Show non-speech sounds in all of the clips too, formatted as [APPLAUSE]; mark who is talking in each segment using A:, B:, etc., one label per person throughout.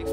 A: üks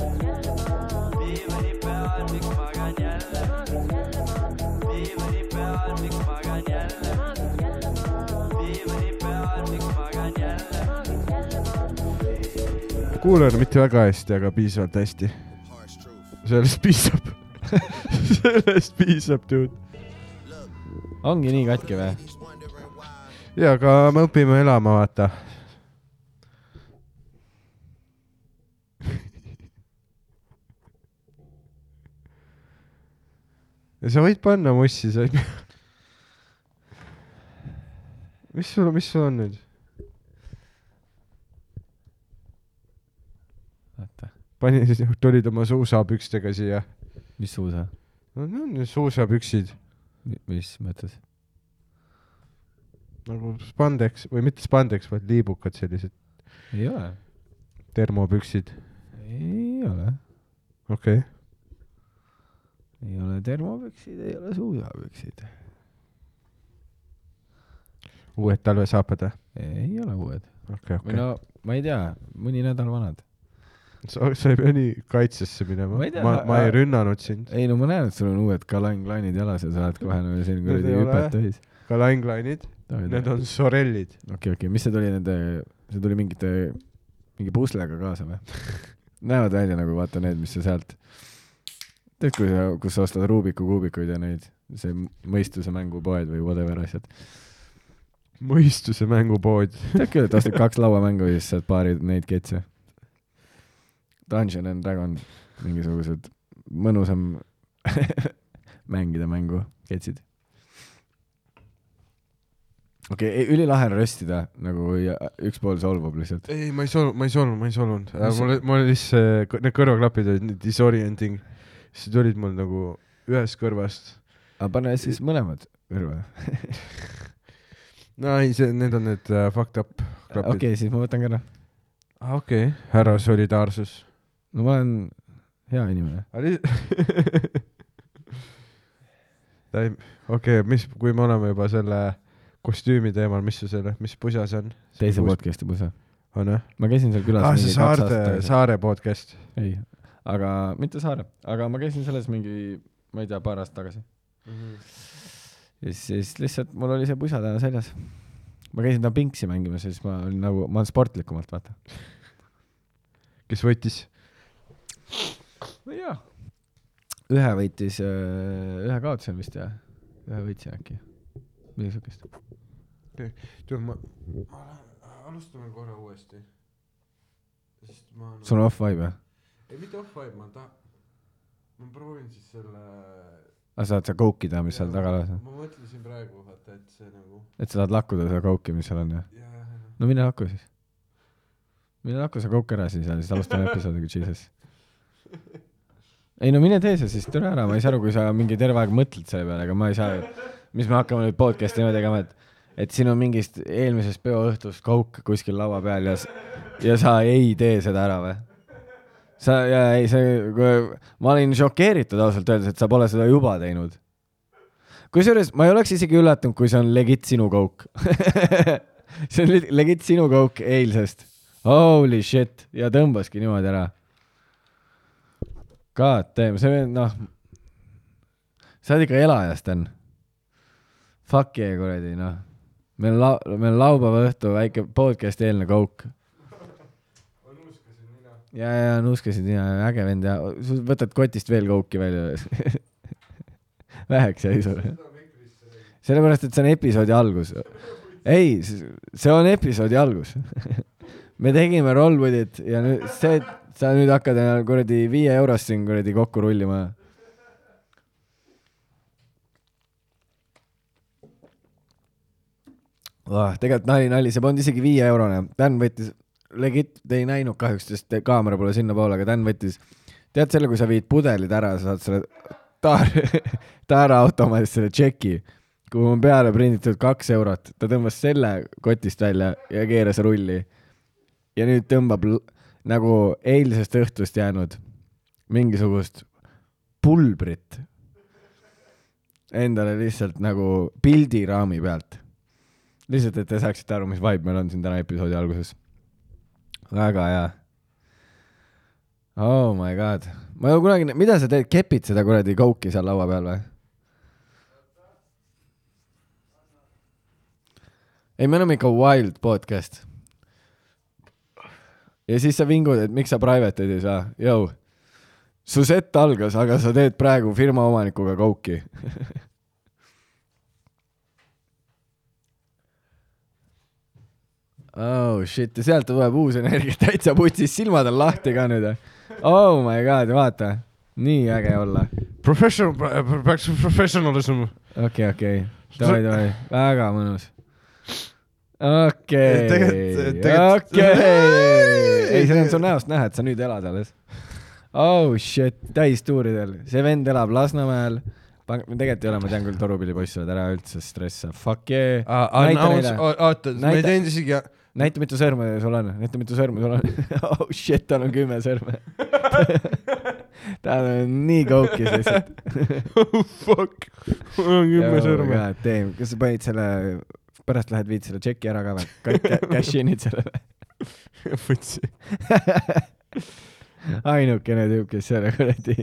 B: jälle ma ,
A: diivani peal , miks magan jälle ?
B: maagid jälle ma ,
A: diivani peal , miks magan jälle ?
B: maagid jälle ma ,
A: diivani peal , miks magan jälle ?
B: maagid jälle ma .
C: kuulan mitte väga hästi , aga piisavalt hästi . sellest piisab . sellest piisab , dude .
D: ongi nii katki või ?
C: jaa , aga me õpime elama , vaata . ja sa võid panna mossi , sa ei pea . mis sul , mis sul on nüüd ?
D: oota ,
C: pani , tulid oma suusapükstega siia .
D: mis suusa ?
C: no need on suusapüksid
D: mis mõttes ?
C: nagu spandeks või mitte spandeks , vaid liibukad sellised
D: ei ole .
C: termopüksid .
D: ei ole .
C: okei okay. .
D: ei ole termopüksid , ei ole suusapüksid .
C: uued talvesaapad või ?
D: ei ole uued
C: okei ,
D: või
C: okei .
D: no ma ei tea , mõni nädal vanad .
C: sa , sa ei pea nii kaitsesse minema .
D: Ma
C: ma
D: ei tea, ,
C: ma, ma ei
D: aga-
C: rünnanud sind .
D: ei no ma näen , et sul on uued kalanglainid jalas ja sa oled kohe nagu siin
C: Need
D: kuradi
C: ei ole.
D: hüpet täis .
C: ka langlainid , need
D: okei ,
C: on sorellid .
D: okei , mis see tuli nende , see tuli mingite , mingi puslega kaasa [LAUGHS] või ? näevad välja nagu vaata need , mis sa sealt , tead , kui sa , kus sa ostad Rubiku kuubikuid ja neid , see mõistuse mängupoed või whatever asjad .
C: mõistuse mängupood .
D: tead küll , et ostad kaks lauamängu ja siis saad paari neid ketse . Dungeon and Dragon , mingisugused mõnusam [LAUGHS] mängida mängu ketsid . okei okay, , ülilahe on röstida nagu ja üks pool solvab lihtsalt .
C: ei , ma ei solvunud , ma ei solvunud , ma ei solvunud
D: Mis .
C: mul , mul lihtsalt , need kõrvaklapid olid nii disorienting . siis tulid mul nagu ühest kõrvast .
D: aga pane siis mõlemad kõrva .
C: no ei , see , need on need uh, fucked up
D: okei
C: klapid .
D: okay, , siis ma võtan ka ära .
C: Ah, okei , härra solidaarsus .
D: no ma olen hea inimene .
C: Aga [LAUGHS] li- ta ei , okei okay, , mis , kui me oleme juba selle kostüümi teemal , mis su selle , mis pusa see on ?
D: teise . Ah, podcast'i pusa .
C: on jah ?
D: ma käisin seal külas
C: aa , Ah, see
D: mingi kaks
C: Saarde
D: aastat , tagasi.
C: Saare podcast .
D: ei , aga mitte Saare , aga ma käisin selles mingi , ma ei tea , paar aastat tagasi .
C: Mhm.
D: ja siis , siis lihtsalt mul oli see pusa täna seljas . ma käisin täna pingsi mängimas ja siis ma olin nagu , ma olen sportlikumalt , vaata .
C: kes võitis ?
D: no jaa . ühe võitis , ühe kaotasin vist jah ? ühe võitsin äkki , midagi siukest .
C: tead , ma , ma lähen , alustame korra uuesti . sest ma
D: sul on off-vibe jah ?
C: ei mitte off-vibe , ma tahan , ma proovin siis selle
D: aga saad Ah, sa koukida , mis seal taga laes on ?
C: ma mõtlesin praegu , vaata , et see nagu
D: et sa saad lakkuda seda kouki , mis seal on jah ?
C: jah , jah , jah .
D: no mine lakku siis . mine lakku see kouk ära siis ja siis alustame episoodiga , jesus . ei no mine tee see siis , tule ära , ma ei saa aru , kui sa mingi terve aeg mõtled selle peale , aga ma ei saa , mis me hakkame nüüd podcast'i niimoodi tegema , et , et siin on mingist eelmisest peoõhtust kouk kuskil laua peal ja , ja sa ei tee seda ära või ? sa , jaa , ei see , ma olin šokeeritud ausalt öeldes , et sa pole seda juba teinud . kusjuures ma ei oleks isegi üllatunud , kui see on legit sinu kouk . [LAUGHS] see on lit- legit sinu kouk eilsest . Holy shit ja tõmbaski niimoodi ära . God damn , see , noh . sa oled ikka elaja , Sten . Fuck yeah , kuradi , noh . meil on lau- , meil on laupäeva õhtu väike podcast eelne kouk . ja , ja nuuskasid ja äge vend ja sa võtad kotist veel kouki välja . [LAUGHS] väheks jäi sulle . sellepärast , et see on episoodi algus . ei , see on episoodi algus . me tegime roll with it ja nüüd see , et sa nüüd hakkad enam kuradi viie eurost siin kuradi kokku rullima . Ah, tegelikult nali , nali , see polnud isegi viie eurone , Dan võttis , legit , te ei näinud kahjuks , sest te- kaamera pole sinnapoole , aga Dan võttis , tead selle , kui sa viid pudelid ära , sa saad selle taar- , [LAUGHS] taaraautomaadist selle tšeki , kuhu on peale prinditud kaks eurot , ta tõmbas selle kotist välja ja keeras rulli . ja nüüd tõmbab l- nagu eilsest õhtust jäänud mingisugust pulbrit endale lihtsalt nagu pildiraami pealt . lihtsalt , et te saaksite aru , mis vibe meil on siin täna episoodi alguses . väga hea . Oh my god , ma ei ole kunagi , mida sa teed , kepid seda kuradi kouki seal laua peal või ? ei , me oleme ikka wild podcast . ja siis sa vingud , et miks sa private'id ei saa , jõu . su sett algas , aga sa teed praegu firma omanikuga kouki . oh shit , ja sealt tuleb uus energia , [LAUGHS] täitsa putsis , silmad on lahti ka nüüd . Oh my god , vaata , nii äge olla .
C: Professional , back to professionalism .
D: okei , okei , davai , davai , väga mõnus . okei
C: Ei, , tegelikult- tegelikult-
D: okei , ei , see on su näost näha , et sa nüüd elad alles . Oh shit , täistuuridel , see vend elab Lasnamäel . tegelikult ei ole , ma tean küll , Torupilli poiss , sa oled ära üldse stressa , fuck yeah . Näita neile.
C: oota , ma ei
D: Näita-
C: teinud isegi ,
D: näita , mitu sõrme sul on , näita , mitu sõrme sul on . [LAUGHS] oh shit , tal on kümme [LAUGHS] sõrme . ta on nii koukis lihtsalt .
C: [LAUGHS] oh fuck , mul on kümme sõrme .
D: Damn , kas sa panid selle , pärast lähed viid selle tšeki ära ka või ?
C: [LAUGHS]
D: Cash'in'id selle või ?
C: võtsin .
D: ainukene tüüp , kes selle
C: [LAUGHS]
D: kuradi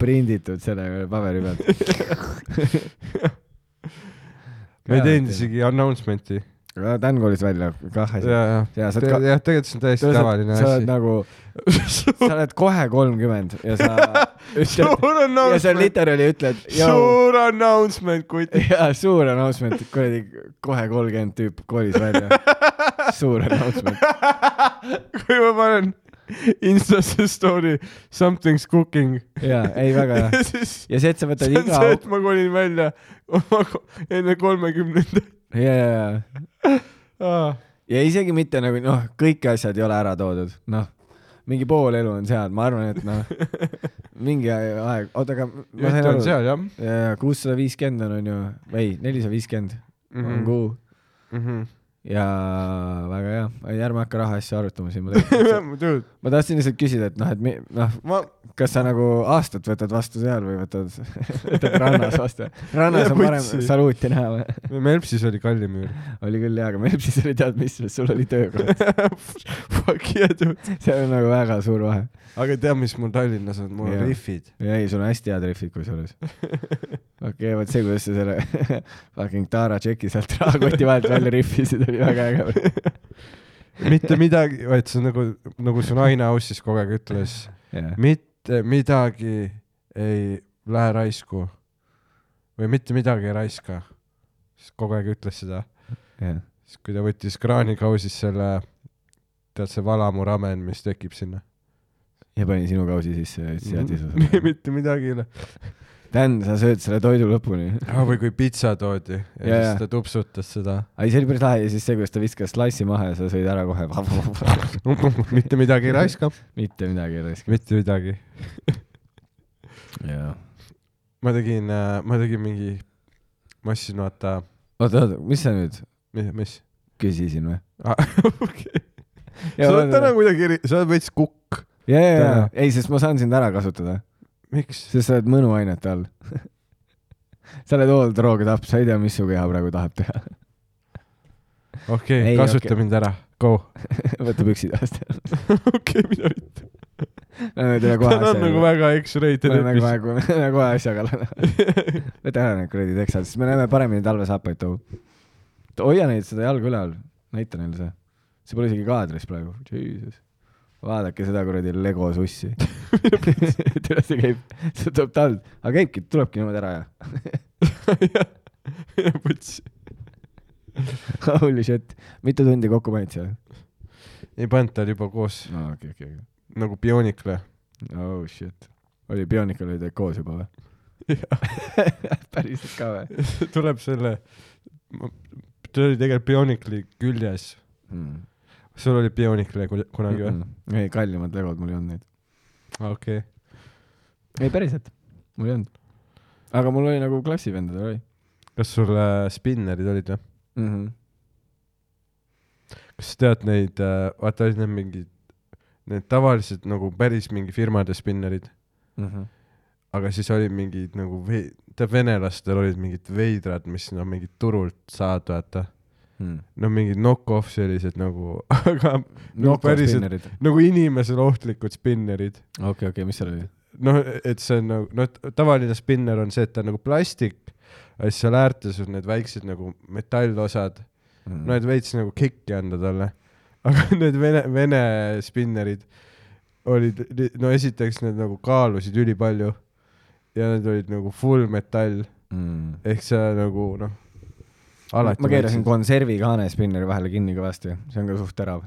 D: prinditud selle paberi pealt .
C: ma ei teinud . isegi announcement'i .
D: Dan koolis välja kah asja .
C: ja , ja
D: Jaa, , sa oled ka-
C: jah , tegelikult see on täiesti tavaline [LAUGHS]
D: sa
C: asi .
D: oled nagu , sa oled kohe kolmkümmend ja sa ütled
C: [LAUGHS] suur
D: ja sa
C: announcement ,
D: literaali ütled ,
C: suur announcement , [LAUGHS] kutt .
D: [LAUGHS] jaa , suur announcement , kuradi kohe kolmkümmend tüüp koolis
C: [LAUGHS]
D: välja . suur announcement .
C: kui ma panen Instasse story something's cooking
D: jaa , ei väga
C: [LAUGHS]
D: hea .
C: ja siis
D: ja see , et sa
C: see
D: võtad
C: on
D: iga
C: see , et , ma kolin välja oma ko- enne kolmekümnendat .
D: jaa , jaa , jaa . ja isegi mitte nagu noh , kõik asjad ei ole ära toodud , noh . mingi pool elu on seal , ma arvan , et noh , mingi aeg , oota , aga ma
C: jutt
D: sain
C: on
D: aru ,
C: seal jah
D: kuussada viiskümmend on , on ju , ei , nelisada viiskümmend on
C: Mhm.
D: kuu
C: Mhm.
D: ja väga hea , ei ärme hakka rahaasja arutama siin ,
C: [LAUGHS]
D: ma tegelikult ,
C: Dude,
D: ma tahtsin lihtsalt küsida , et noh , et mi- noh ,
C: ma ,
D: kas sa nagu aastat võtad vastu seal või võtad , [LAUGHS] võtad rannas vastu ? rannas on
C: Mine
D: parem
C: putsi.
D: saluuti näha või ? [LAUGHS]
C: Melpsis oli kallim ju .
D: oli küll jaa , aga meil siis oli tead , mis sul oli töökoht .
C: [LAUGHS] Fuck yeah dude .
D: seal on nagu väga suur vahe .
C: aga tead , mis mul Tallinnas on , mul on
D: Jah.
C: riffid .
D: ei , sul on hästi head rihvid kusjuures . okei okay, , vot see , kuidas sa selle [LAUGHS] fucking Tara tšeki sealt rahakoti vahelt välja rihvisid , oli väga
C: [LAUGHS]
D: äge .
C: mitte midagi , vaid see on nagu , nagu su naine aussis kogu aeg ütles ,
D: jah ,
C: mitte midagi ei lähe raisku või mitte midagi ei raiska . siis kogu aeg ütles seda ,
D: jah .
C: siis kui ta võttis kraanikausist selle , tead see valamu ramen , mis tekib sinna .
D: ja panin sinu kausi sisse ja ütlesin , et
C: [LAUGHS]
D: isu .
C: mitte midagi ei lähe .
D: Dan , sa sööd selle toidu lõpuni .
C: Ah, või kui pitsa toodi ja
D: Jaa,
C: siis
D: jaa.
C: ta tupsutas seda .
D: ei , see oli päris lahe ja siis see , kuidas ta viskas slassi maha ja sa sõid ära kohe .
C: [LAUGHS]
D: [LAUGHS]
C: mitte midagi ei raiska .
D: mitte midagi ei raiska .
C: mitte midagi .
D: jaa .
C: ma tegin , ma tegin mingi , ma ostsin vaata ,
D: oota , oota , mis sa nüüd
C: mis , mis ?
D: küsisin või ?
C: [LAUGHS] okei . sa oled täna . kuidagi eri- , sa oled veits kukk .
D: ja , ja , ja
C: täna- ,
D: ei , sest ma saan sind ära kasutada ,
C: miks ?
D: sest sa oled mõnuainete all . [LAUGHS] sa oled all drooge tapp , sa ei tea , mis su keha praegu tahab teha . [LAUGHS]
C: okei okay, ,
D: Ei,
C: kasuta
D: okei.
C: okay. mind ära , go .
D: võta püksid jalast ära .
C: okei , mida mitte .
D: Lähme teeme kohe
C: ta on nagu
D: asja .
C: väga X-rated
D: Lähme kohe
C: episood .,
D: [LAUGHS] lähme nagu kohe asja kallale .
C: [LAUGHS]
D: võta ära need kuradi teksad , siis me näeme paremini talvesaapaid too . hoia neid seda jalga üleval , näita neile see . see pole isegi kaadris praegu ,
C: [LAUGHS]
D: jesus . vaadake seda kuradi Lego sussi . [LAUGHS] tead , see
C: [LAUGHS]
D: käib , see tuleb talv , aga käibki , tulebki niimoodi ära ja
C: võtsi .
D: [LAUGHS] Holy shit , mitu tundi kokku panid seal ?
C: ei pannud , ta oli juba koos
D: aa , okei , okei , okei .
C: nagu bioonikle .
D: Oh shit . oli , Bionicul olid koos juba või ? [LAUGHS] päriselt ka või
C: [LAUGHS] tuleb selle , ta oli tegelikult bionikli küljes .
D: mm. ?
C: sul oli bionikle ku- kunagi või ?
D: -mm. ei , kallimad legod mul ei olnud neid .
C: okei .
D: ei , päriselt , mul ei olnud . aga mul oli nagu klassivendadel oli
C: kas sul äh, spinnerid olid või ?
D: mm . -hmm.
C: kas sa tead neid , vaata äh, olid need mingid need tavalised nagu päris mingi firmade spinnerid ,
D: Mhm.
C: aga siis olid mingid nagu vei- , tead venelastel olid mingid veidrad , mis no mingid turult saad , vaata .
D: Mhm.
C: no mingid knock-off sellised nagu , [LAUGHS] aga
D: no
C: päriselt-
D: päriselt .
C: nagu inimesele ohtlikud spinnerid .
D: okei , okei , mis seal oli ?
C: noh , et see on nagu , noh , tavaline spinner on see , et ta on nagu plastik , aga siis seal äärtes on need väiksed nagu metallosad ,
D: Mhm.
C: no et veits nagu kikki anda talle . [LAUGHS] aga need vene , vene spinnerid olid , no esiteks need nagu kaalusid ülipalju ja need olid nagu full metall ehk see nagu noh , alati .
D: Mhm. ma keerasin . konservikaane spinneri vahele kinni kõvasti , see on ka suht terav .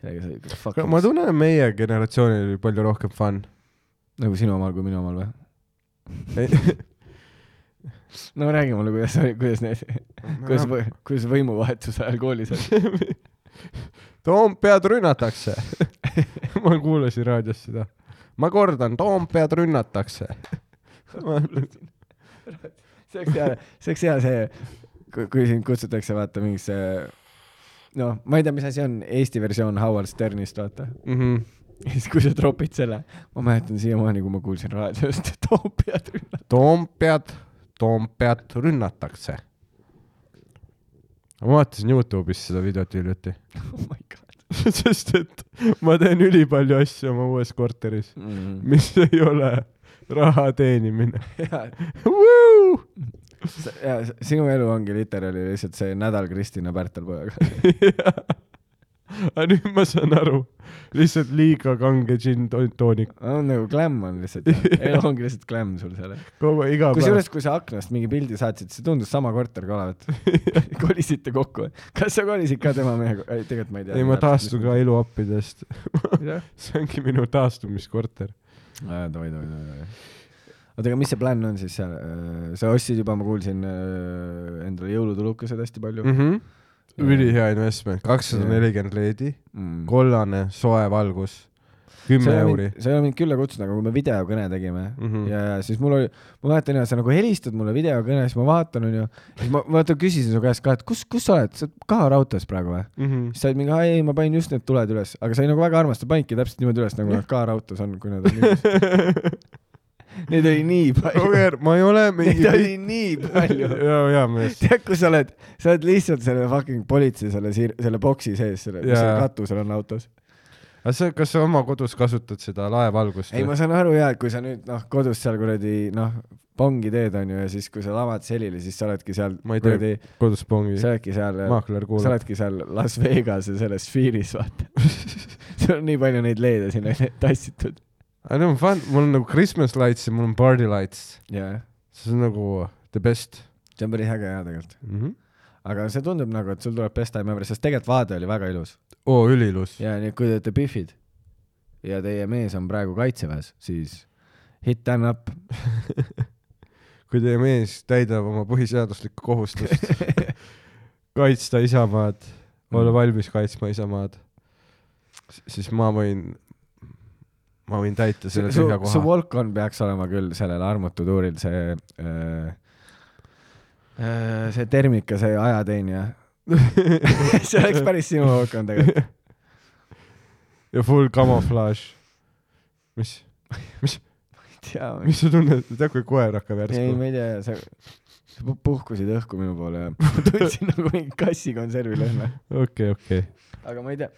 D: sellega sai fuck
C: ma tunnen , meie generatsioonil oli palju rohkem fun .
D: nagu sinu omal kui minu omal või ? [LAUGHS] no räägi mulle , kuidas , kuidas need , kuidas , kuidas võimuvahetuse ajal koolis oli .
C: Toompead rünnatakse . [LAUGHS] ma kuulasin raadios seda . ma kordan , Toompead rünnatakse .
D: [LAUGHS] see oleks hea , see oleks hea see , kui sind kutsutakse vaata mingisse , noh , ma ei tea , mis asi on Eesti versioon Howard Sternist , vaata . [LAUGHS]
C: Mhm.
D: ja siis , kui sa tropid selle , ma mäletan siiamaani , kui ma kuulsin raadiost , et toopiad rünnad .
C: Toompead , Toompead rünnatakse . ma vaatasin Youtube'is seda videot hiljuti , [LAUGHS]
D: oh my god
C: sest et ma teen ülipalju asju oma uues korteris ,
D: [LAUGHS] mm. .
C: mis [LAUGHS] ei ole raha teenimine . [LAUGHS]
D: ja , ja sinu elu ongi literaali lihtsalt see nädal Kristina Pärtel pojaga . [LAUGHS]
C: aga nüüd ma saan aru , lihtsalt liiga kange džinn-toonik ,
D: on nagu glam on lihtsalt , elu ongi lihtsalt glam sul seal .
C: kogu iga päev .
D: kusjuures , kui sa aknast mingi pildi saatsid , see tundus sama korter ka olevat .
C: [LAUGHS]
D: kolisite kokku või ? kas sa kolisid ka tema mehega ? ei , tegelikult ma ei tea .
C: ei , ma taastun ka . eluappidest . [LAUGHS]
D: Jah.
C: see ongi minu taastumiskorter .
D: davai , davai , davai . oota , aga mis see plaan on siis seal ? sa ostsid juba , ma kuulsin äh, endale jõulutulukesed hästi palju
C: Mhm.
D: mm. .
C: ülihea investment , kakssada nelikümmend leedi ,
D: Mm.
C: kollane soe valgus , kümme euri .
D: sa ei ole mind külla kutsunud , aga kui me videokõne tegime mm
C: Mhm.
D: -hmm. ja , ja siis mul oli , ma mäletan ja sa nagu helistad mulle videokõne , siis ma vaatan , onju . siis ma vaata küsisin su käest ka , et kus , kus sa oled , sa oled ka raudtees praegu või ? siis sa olid mingi , ei , ma panin just need tuled üles , aga sa olid nagu väga armas , sa panidki täpselt niimoodi üles , nagu nad ka raudtees on , kui nad on
C: [LAUGHS]
D: niimoodi . [LAUGHS] Neid oli nii palju .
C: Roger , ma ei ole mingi
D: Neid . oli nii
C: [LAUGHS]
D: palju .
C: ja , ja mees .
D: tead , kus sa oled , sa oled lihtsalt selle fucking politsei selle siir- , selle boksi sees , selle , mis
C: Jaa.
D: seal katusel on autos .
C: aga sa , kas sa oma kodus kasutad seda laevalgust ?
D: ei , ma saan aru ja , et kui sa nüüd noh , kodus seal kuradi noh , pongi teed onju ja siis , kui sa lavad selili , siis sa oledki seal
C: Ma ei tee-
D: kuradi ,
C: kodus pongi .
D: sa oledki seal ,
C: maakler
D: sa
C: kuulab .
D: oledki seal Las Vegase selles sfääris , vaata . [LAUGHS] sul on nii palju neid leede sinna tassitud .
C: aga need on fun , mul on nagu Christmas lights ja mul on party lights .
D: jaa ,
C: see on nagu the best
D: see on päris äge ja tegelikult .
C: mm . -hmm.
D: aga see tundub nagu , et sul tuleb best time ever , sest tegelikult vaade oli väga ilus .
C: oo , üliilus .
D: ja nüüd , kui te olete Biffid ja teie mees on praegu kaitseväes , siis hit and up .
C: kui teie mees täidab oma põhiseaduslikku kohustust kaitsta isamaad , olla valmis kaitsma isamaad , siis ma võin , ma võin täita selle
D: su
C: tühja ,
D: su
C: koha .
D: walk-on peaks olema küll sellel armututuuril see äh, , see termika , see ajateenija . [LAUGHS] see oleks päris sinu walk-on tegelikult .
C: ja full camouflage . mis ,
D: jaa , ma ei
C: mis sa tunned , tead kui koer hakkab
D: ei ,
C: järsku ?
D: ma ei tea , sa , sa pu- puhkusid õhku minu poole ja [LAUGHS] ma tundsin nagu mingi kassikonservi lõhna .
C: okei , okei .
D: aga ma ei tea ,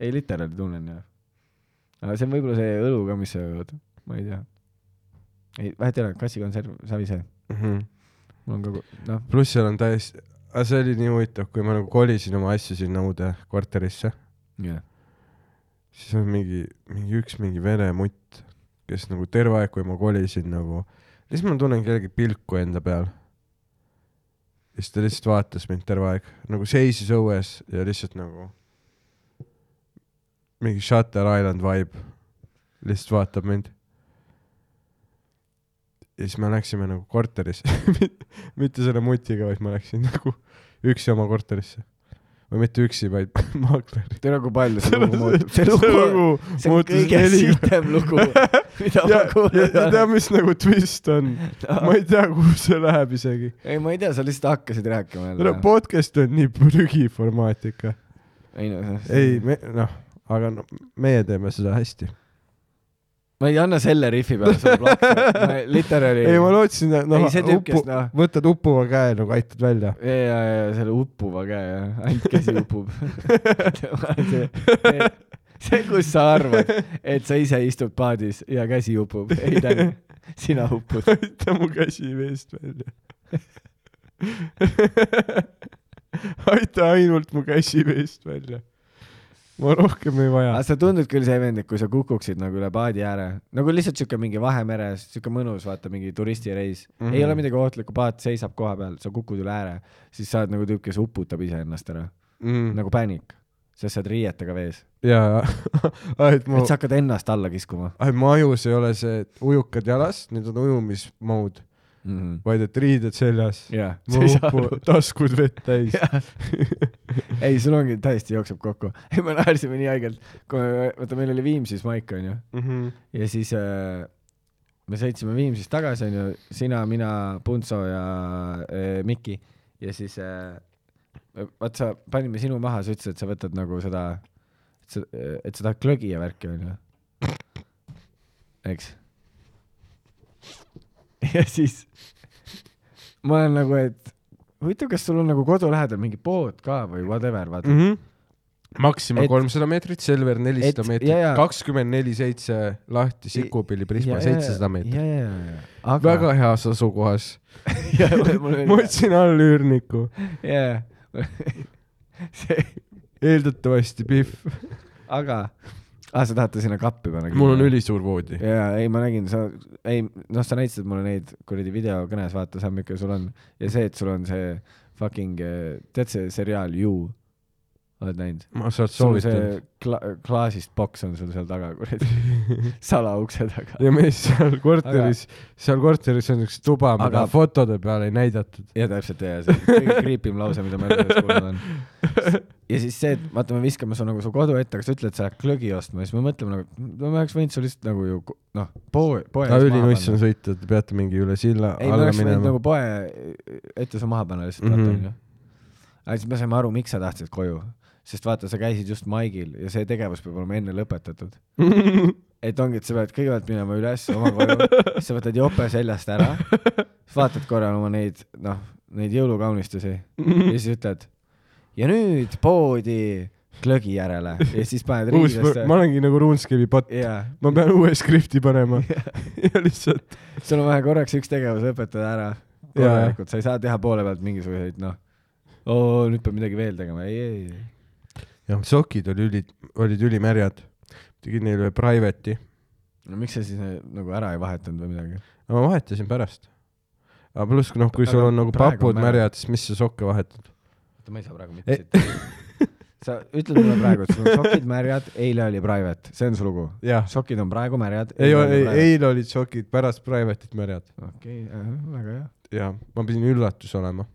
D: ei literaali tunnen jah . aga see on võib-olla see õlu ka , mis sa jood , ma ei tea . ei , vahet ei ole , kassikonserv , savi see , mul on kogu , noh ,
C: pluss seal on täiesti , aga see oli nii huvitav , kui ma nagu kolisin oma asju sinna uude korterisse ,
D: jah .
C: siis on mingi , mingi üks mingi vene mutt , kes nagu terve aeg , kui ma kolisin nagu , siis ma tunnen kellegi pilku enda peal . ja siis ta lihtsalt vaatas mind terve aeg , nagu seisis õues ja lihtsalt nagu mingi Shutter Island vibe , lihtsalt vaatab mind . ja siis me läksime nagu korterisse , [LAUGHS] mitte selle mutiga , vaid ma läksin nagu üksi oma korterisse või mitte üksi , vaid [LAUGHS] maakler .
D: tead , kui palju [LAUGHS] see lugu muutub ,
C: see
D: see lugu ,
C: lugu
D: [LAUGHS] see on kõige sitem lugu , mida
C: ja ,
D: ma
C: ja
D: kuulnud
C: ja tea ,
D: [LAUGHS] olen .
C: mis nagu twist on , ma ei tea , kuhu see läheb isegi .
D: ei , ma ei tea , sa lihtsalt hakkasid rääkima
C: no
D: jälle .
C: podcast on nii prügiformaat ikka .
D: ei noh ,
C: ei ,, me , noh , aga no meie teeme seda hästi .
D: ma ei anna selle rifi peale sulle plaksu , literaali .
C: ei , ma lootsin , et noh
D: Ei, see , tüüp, kes,
C: upu
D: noh- ,
C: võtad uppuva käe nagu aitad
D: [LAUGHS]
C: välja .
D: ja , ja , ja selle uppuva käe ja ainult
C: [LAUGHS]
D: käsi upub [LAUGHS] see, see , kus sa arvad , et sa ise istud paadis ja käsi upub , ei tea , sina uppud .
C: aita mu käsi veest välja . aita ainult mu käsi veest välja . ma rohkem ei vaja
D: aga . sa tundud küll see vend , et kui sa kukuksid nagu üle paadi ääre , nagu lihtsalt siuke mingi Vahemeres , siuke mõnus , vaata mingi turistireis mm ,
C: Mhm.
D: -hmm. ei ole midagi ohtlikku , paat seisab koha peal , sa kukud üle ääre , siis sa oled nagu tüüp , kes uputab iseennast ära mm. ,
C: Mm,
D: nagu päänik , sest sa oled riietega vees ,
C: jaa , [LAUGHS] et mu
D: et , sa hakkad ennast alla kiskuma
C: mu ajus ei ole see et ujukad jalas , need on ujumismood ,
D: mm . -hmm.
C: vaid et riided seljas .
D: jah , sa
C: mu
D: ei saa
C: upu-
D: aru .
C: taskud vett täis .
D: [LAUGHS] ei , sul ongi , täiesti jookseb kokku . [LAUGHS] ei , me naersime nii haigelt , kui me , vaata , meil oli Viimsis maik , onju ,
C: Mhm.
D: ja siis äh, me sõitsime Viimsist tagasi , onju , sina , mina , Punso ja äh, Miki ja siis äh, vaat sa , panime sinu maha , sa ütlesid , et sa võtad nagu seda , et sa , et sa tahad klögi ja värki , onju . eks . [LAUGHS] ja siis ma olen nagu , et huvitav , kas sul on nagu kodu lähedal mingi pood ka või whatever , vaata .
C: Mhm. Maxima
D: Et-
C: kolmsada meetrit , Selver nelisada
D: et-
C: meetrit
D: jaa, jaa. ,
C: kakskümmend neli seitse lahti , Sikupilli Prisma seitsesada meetrit .
D: ja , ja , ja , ja . [LAUGHS]
C: väga heas asukohas . ma
D: hea .
C: võtsin all üürniku ,
D: jaa , [LAUGHS] see ,
C: eeldatavasti Pihv .
D: aga , aa , sa tahad ta sinna kappi panna ?
C: mul on . ülisuur voodi .
D: jaa , ei , ma nägin , sa , ei , noh , sa näitasid mulle neid kuradi videokõnes , vaata , Sam , ikka sul on ja see , et sul on see fucking , tead see seriaal You , oled näinud ?
C: ma saad
D: sul see
C: soovitada .
D: kla- , klaasist boks on sul seal taga ,
C: [LAUGHS]
D: kuradi , salaukse taga .
C: ja meil seal korteris , seal korteris on üks tuba , mida
D: Aga-
C: fotode peal ei [LAUGHS] näidatud .
D: ja täpselt ja , ja see on kõige creepim lause , mida ma enda elus kuulnud olen . ja siis see , et vaata , me viskame su nagu su kodu ette , aga sa ütled , sa lähed klõgi ostma , siis me mõtleme nagu , no me oleks võinud sul lihtsalt nagu ju ko- noh , poe , poe
C: aga ülinuss on . sõita , te peate mingi üle silla
D: ei , me
C: alla
D: oleks võinud
C: minema
D: nagu . poe ette su maha panna lihtsalt mm ,
C: Mhm.
D: -hmm. vaata onju . aga siis me saime aru , miks sa tahtsid koju , sest vaata , sa käisid just Maigil ja see tegevus peab olema enne
C: [LAUGHS]
D: lõpetatud . et ongi , et sa pead kõigepealt minema üles oma koju , siis sa võtad jope seljast ära , vaatad korra oma neid , noh , neid jõulukaunistusi ja siis ütled ja nüüd poodi klõgi järele ja siis paned
C: uus ,
D: riidesse
C: ma olengi nagu RuneScape'i bot .
D: ja
C: ma pean uue skripti
D: [LAUGHS]
C: panema [LAUGHS] ja lihtsalt
D: sul on vaja korraks üks tegevus lõpetada ära korralikult , sa ei saa teha poole pealt mingisuguseid noh , oo nüüd peab midagi veel tegema , ei , ei ,
C: jah , sokid oli üli , olid ülimärjad . tegin neile ühe private'i ,
D: ei no miks sa siis eh, nagu ära ei vahetanud või midagi ?
C: aga ma vahetasin pärast . aga pluss , noh , kui
D: Aga
C: sul on nagu
D: praegu on
C: papud
D: märjad.
C: märjad , siis mis sa sokke vahetad ?
D: oota , ma ei saa praegu mitte siit . Eh. [LAUGHS] sa ütled mulle praegu , et sul on sokid märjad , eile oli private , see on su lugu .
C: jah ,
D: sokid on praegu nagu märjad .
C: ei , ei , eile olid sokid , pärast private'id märjad .
D: okei , väga hea .
C: jah , ma pidin üllatus olema .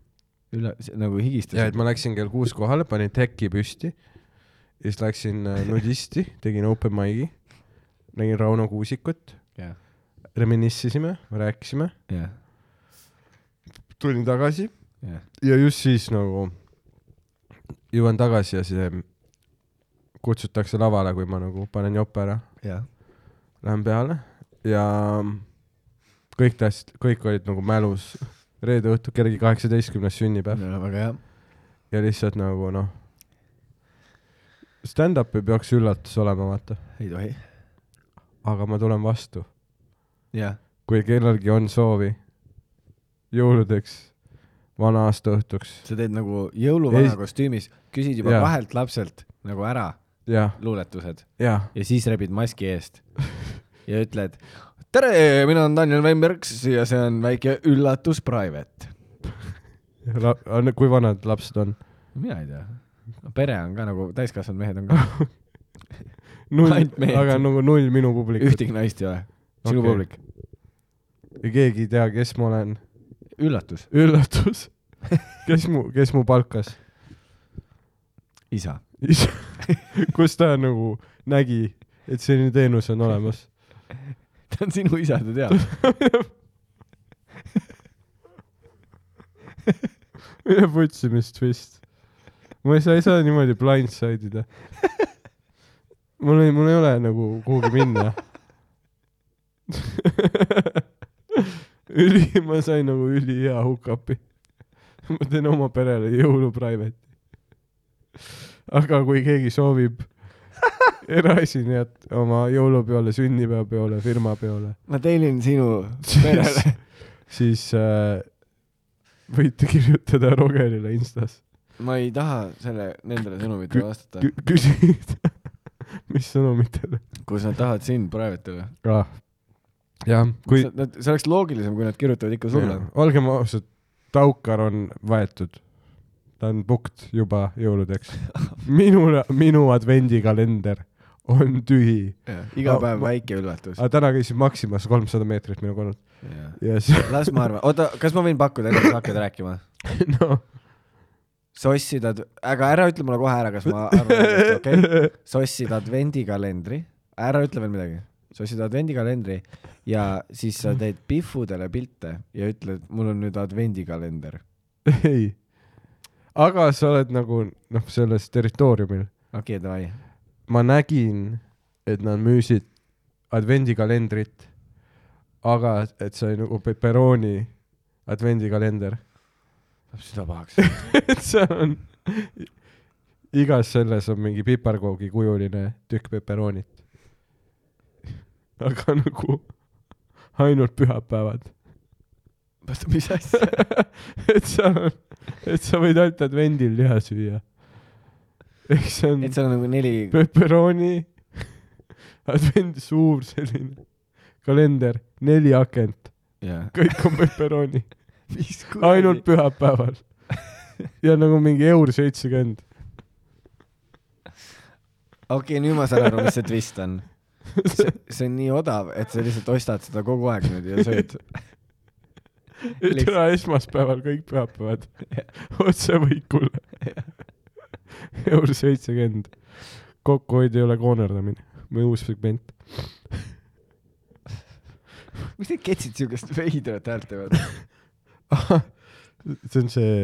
D: üle , nagu
C: ja et
D: higistasid .
C: ma läksin kell kuus kohale , panin teki püsti ja siis läksin äh, nudisti , tegin open mic'i , nägin Rauno Kuusikut ,
D: jah ,
C: reminissisime , rääkisime ,
D: jah ,
C: tulin tagasi
D: jah .
C: ja just siis nagu jõuan tagasi ja see kutsutakse lavale , kui ma nagu panen jope ära ,
D: jah .
C: lähen peale ja kõik tahtsid , kõik olid nagu mälus . reede õhtu kellegi kaheksateistkümnes sünnipäev
D: väga hea .
C: ja lihtsalt nagu noh , stand-up ei peaks üllatus olema , vaata ,
D: ei tohi .
C: aga ma tulen vastu ,
D: jah ,
C: kui kellelgi on soovi jõuludeks , vana aasta õhtuks ,
D: sa teed nagu jõuluvana
C: Ei-
D: kostüümis , küsid juba
C: Jah.
D: kahelt lapselt nagu ära
C: jah ,
D: luuletused
C: jah ,
D: ja siis rebid maski [LAUGHS] eest ja ütled tere , mina olen Daniel Weinberg ja see on väike üllatus private .
C: kui vanad lapsed on ?
D: mina ei tea . pere on ka nagu , täiskasvanud mehed [LAUGHS] on ka ,
C: null
D: Ainult , mehed.
C: aga nagu null minu publikut .
D: ühtegi naist ei ole . sinu
C: Okei.
D: okay. publik .
C: ja keegi ei tea , kes ma olen .
D: üllatus ,
C: üllatus . kes mu , kes mu palkas ?
D: isa .
C: kus ta nagu nägi , et selline teenus on olemas .
D: [LAUGHS] ta on sinu isa , ta teab .
C: mine putsi , mis twist . ma ei saa , ei saa niimoodi blindsidida . mul ei , mul ei ole nagu kuhugi minna . üli , ma sain nagu ülihea hookupi . ma teen oma perele jõuluprivate'i . aga kui keegi soovib eraesinejat oma jõulupeole , sünnipäevapeole , firmapeole ,
D: ma tellin [LAUGHS] sinu
C: perele. siis äh, võite kirjutada Rogerile Instas .
D: ma ei taha selle , nendele
C: Kü-
D: sõnumitele vastata ,
C: küsida , [LAUGHS] mis sõnumitele
D: kus nad tahavad sind private'ile .
C: ah. . jah , kui
D: Kui... Nad , see oleks loogilisem , kui nad kirjutavad ikka sulle
C: jah, . olgem ausad , Taukar on võetud . ta on booked juba [LAUGHS] jõuludeks . minul , minu advendikalender on tühi .
D: iga
C: Ma-
D: päev
C: ma-
D: väike üllatus .
C: aga täna käisin Maximas kolmsada meetrit minu kodult ja [LAUGHS]
D: las
C: siis ,
D: ma arvan , oota , kas ma võin pakkuda , enne kui sa hakkad rääkima ?
C: noh .
D: sossid ad- , aga ära ütle mulle kohe ära , kas ma arvan õigesti , [LAUGHS] okei okay? ? sossid advendikalendri , ära ütle veel midagi . sossid advendikalendri ja siis sa teed pihvudele pilte ja ütled , mul on nüüd advendikalender .
C: ei . aga sa oled nagu noh , selles territooriumil .
D: okei okay, , davai .
C: ma nägin , et nad müüsid advendikalendrit , aga et see oli nagu Pepperoni advendikalender .
D: läheb süda [LAUGHS] pahaks .
C: [LAUGHS] et seal on , igas selles on mingi piparkoogi kujuline tükk peperoonit . aga nagu ainult pühapäevad . [LAUGHS]
D: oota , mis asja ?
C: et seal on , et sa võid ainult advendil liha süüa . ehk see on
D: et seal on nagu
C: [LAUGHS]
D: neli ,
C: peperooni advent , suur selline kalender , neli akent ,
D: jah .
C: kõik on [LAUGHS] peperooni , ainult . pühapäeval . [LAUGHS] ja nagu mingi eur seitsekümmend .
D: okei , nüüd ma saan aru , mis see twist on . see , see on nii odav , et sa lihtsalt ostad seda kogu aeg nüüd ja sööd .
C: [LAUGHS] et
D: Lihtsalt-
C: ära esmaspäeval kõik [LAUGHS] pühapäevad otse [LAUGHS] võikule . eur seitsekümmend . kokkuhoid ei ole koonerdamine , meie uus segment .
D: miks need ketsid siukest veidrat häält teevad ?
C: [LAUGHS] see on see ,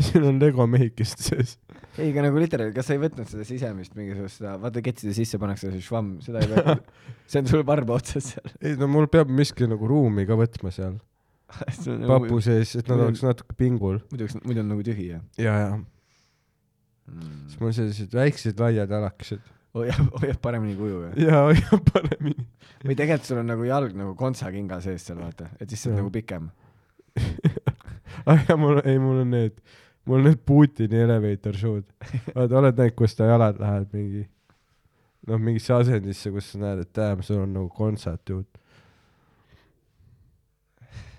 C: siin on Lego mehikest sees .
D: ei , aga nagu literaal , kas sa ei võtnud seda sisemist mingisugust seda , vaata ketside sisse pannakse see švamm , seda ei [LAUGHS] võetud . see on sul varba otsas [LAUGHS] seal .
C: ei no mul peab miski nagu ruumi ka võtma seal papu . sees , et nad
D: muidu-
C: oleks natuke pingul
D: nagu muidu , muidu on nagu tühi jah
C: ja , ja siis
D: mm. .
C: mul on sellised väiksed laiad jalakesed
D: hoiab , hoiab paremini kuju jah . [LAUGHS]
C: ja [LAUGHS] hoiab paremini .
D: või tegelikult sul on nagu jalg nagu kontsakinga sees seal vaata , et siis see on
C: Jah.
D: nagu pikem .
C: ah ja mul , ei mul on need , mul on need Putini elevator show'd . vaata , oled näinud , kus ta jalad lähevad mingi , noh , mingisse asendisse , kus sa näed , et damn , sul on nagu kontsert ju . [LAUGHS]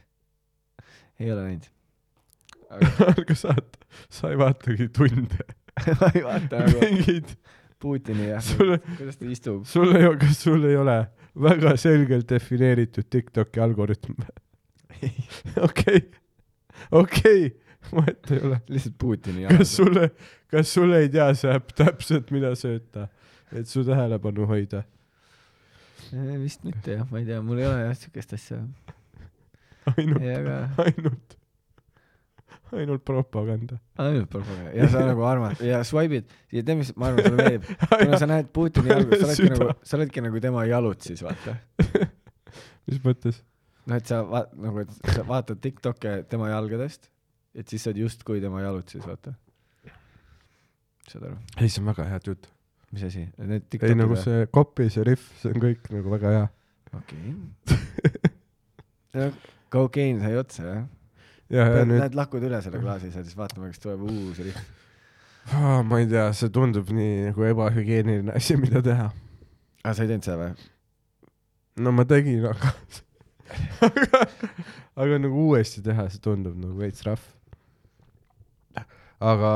D: ei ole näinud .
C: aga sa , sa ei vaatagi tunde .
D: [LAUGHS] ma ei vaata nagu [LAUGHS]
C: mingid ,
D: Putini jah
C: Sul- ,
D: kuidas ta istub .
C: sul ei ole , kas sul ei ole väga selgelt defineeritud Tiktoki algoritm ? okei , okei , vahet ei ole .
D: lihtsalt Putini jalad .
C: kas sulle , kas sulle ei tea see äpp täpselt , mida sööta , et su tähelepanu hoida ?
D: Eh, vist mitte jah , ma ei tea , mul ei ole jah siukest asja .
C: ainult
D: ei , aga
C: ainult , ainult propaganda .
D: ainult propaganda ja sa nagu arvad ja swipe'id ja tead , mis ma arvan , sulle meeldib , kuna sa näed Putini jalgu , sa oledki
C: Süda.
D: nagu , sa oledki nagu tema jalutsis , vaata .
C: mis mõttes ?
D: noh , et sa vaat- , nagu , et sa vaatad Tiktok'e tema jalgadest , et siis sa oled justkui tema jalutsis , vaata . saad aru ,
C: ei , see on väga hea jutt .
D: mis asi ? Need
C: ei , nagu
D: Tiktok'id või ?
C: see copy , see riff , see on kõik nagu väga hea .
D: okei . kokeiin sai otsa , jah ?
C: ja , ja Äh, nüüd ,
D: Lähed lakud üle selle klaasi seal , siis vaatame , kas tuleb uus rihm .
C: ma ei tea , see tundub nii nagu ebahügieeniline asi , mida teha .
D: aa , Ah, sa ei teinud seda või ?
C: no ma tegin , aga aga nagu uuesti teha , see tundub nagu veits rough . aga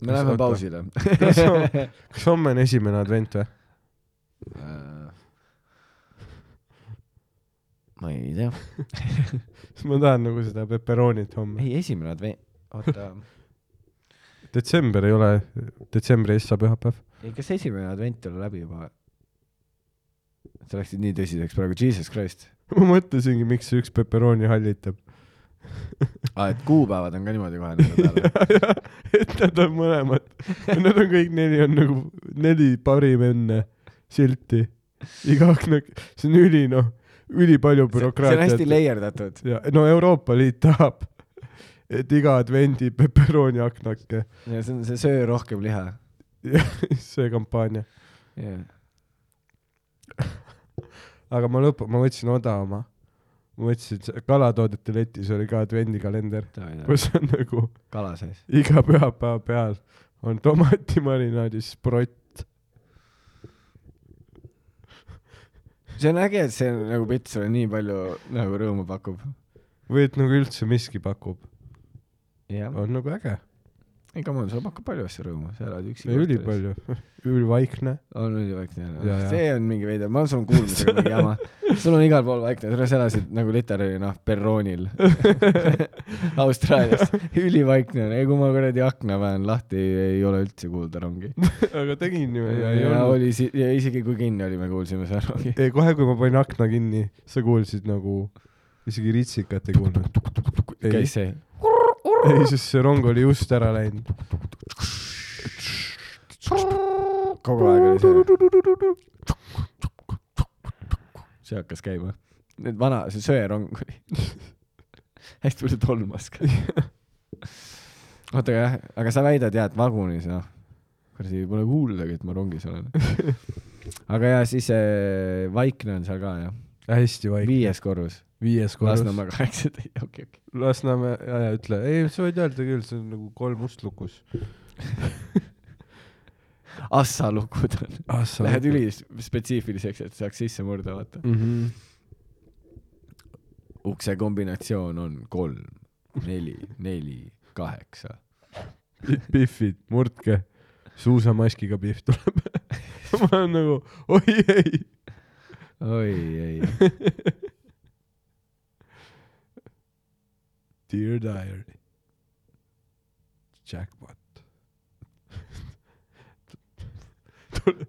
D: me läheme
C: Oota.
D: pausile .
C: [LAUGHS] kas homme , kas homme on esimene advent või ?
D: Äh. ma ei tea .
C: sest ma tahan nagu seda peperoonit homme .
D: ei , esimene advent , oota ,
C: detsember ei ole , detsembri ees saab ühapäev .
D: ei kas esimene advent ei ole läbi juba või ? sa läksid nii tõsiseks praegu , jesus [LAUGHS] christ .
C: [LAUGHS] ma mõtlesingi , miks see üks peperooni hallitab .
D: aa , Ah, et kuupäevad on ka niimoodi kohe
C: [LAUGHS]
D: nende [LAUGHS] peale .
C: et nad on mõlemad , nad on kõik neli on nagu neli nagu parim enne silti , iga akna , see on üli noh , ülipalju
D: see on hästi
C: bürokraatiat .
D: layer datud .
C: ja no Euroopa Liit tahab , et iga advendi peperooni aknake , [LAUGHS]
D: ja see on see söö rohkem liha .
C: see kampaania .
D: jah .
C: aga ma lõpu , ma võtsin odavama . ma võtsin , kalatoodete letis oli ka advendikalender , kus on nagu
D: kala sees .
C: iga pühapäeva peal on tomatimarinaadis sprott .
D: see on äge , et see on nagu pits sulle nii palju nagu rõõmu pakub .
C: või et nagu üldse miski pakub ,
D: jah .
C: on nagu äge .
D: ei , come on , sulle pakub palju asju rõõmu , sa elad üksi .
C: ülipalju , ülivaikne .
D: on üli vaikne
C: Ja,
D: jah
C: ja. ,
D: see on mingi veider , ma arvan , sul on kuulmisega mingi [LAUGHS] jama . sul on igal pool vaikne , sa elasid nagu literaali noh , [LAUGHS] perroonil Austraalias , ülivaikne on , ei kui ma kuradi akna vajan lahti , ei ole üldse kuulda rongi .
C: [LAUGHS] aga tegin ju ja ei
D: ja
C: olnud .
D: oli si- , ja isegi kui kinni oli , me kuulsime seda rongi .
C: ei , kohe , kui ma panin akna kinni , sa kuulsid nagu , isegi ritsikat ei kuulnud . ei ,
D: käis see ,
C: ei , sest see rong oli just ära läinud .
D: kogu aeg oli see . see hakkas käima . Need vana , see söerong oli [LAUGHS] hästi palju tolmas ka . oota , aga jah , aga sa väidad jah , et vagunis , noh , kuradi pole kuuldagi , et ma rongis [LAUGHS] olen . aga ja siis äh, vaikne on seal ka jah ,
C: hästi vaikne .
D: viies korrus ,
C: viies korrus .
D: Lasnamäe [LAUGHS] kaheksateist , okei , okei .
C: Lasnamäe , ja , ja ütle , ei , sa võid öelda küll , see on nagu kolm ust lukus .
D: Assa lukud on .
C: ah sa
D: Lähed ülispetsiifiliseks , et saaks sisse murda , vaata .
C: mm . -hmm.
D: ukse kombinatsioon on kolm , neli , neli , kaheksa .
C: Pihvid , murdke , suusamaskiga pihv tuleb . [LAUGHS] ma olen nagu , oi ei .
D: oi , ei ,
C: Dear diary . Jackpot .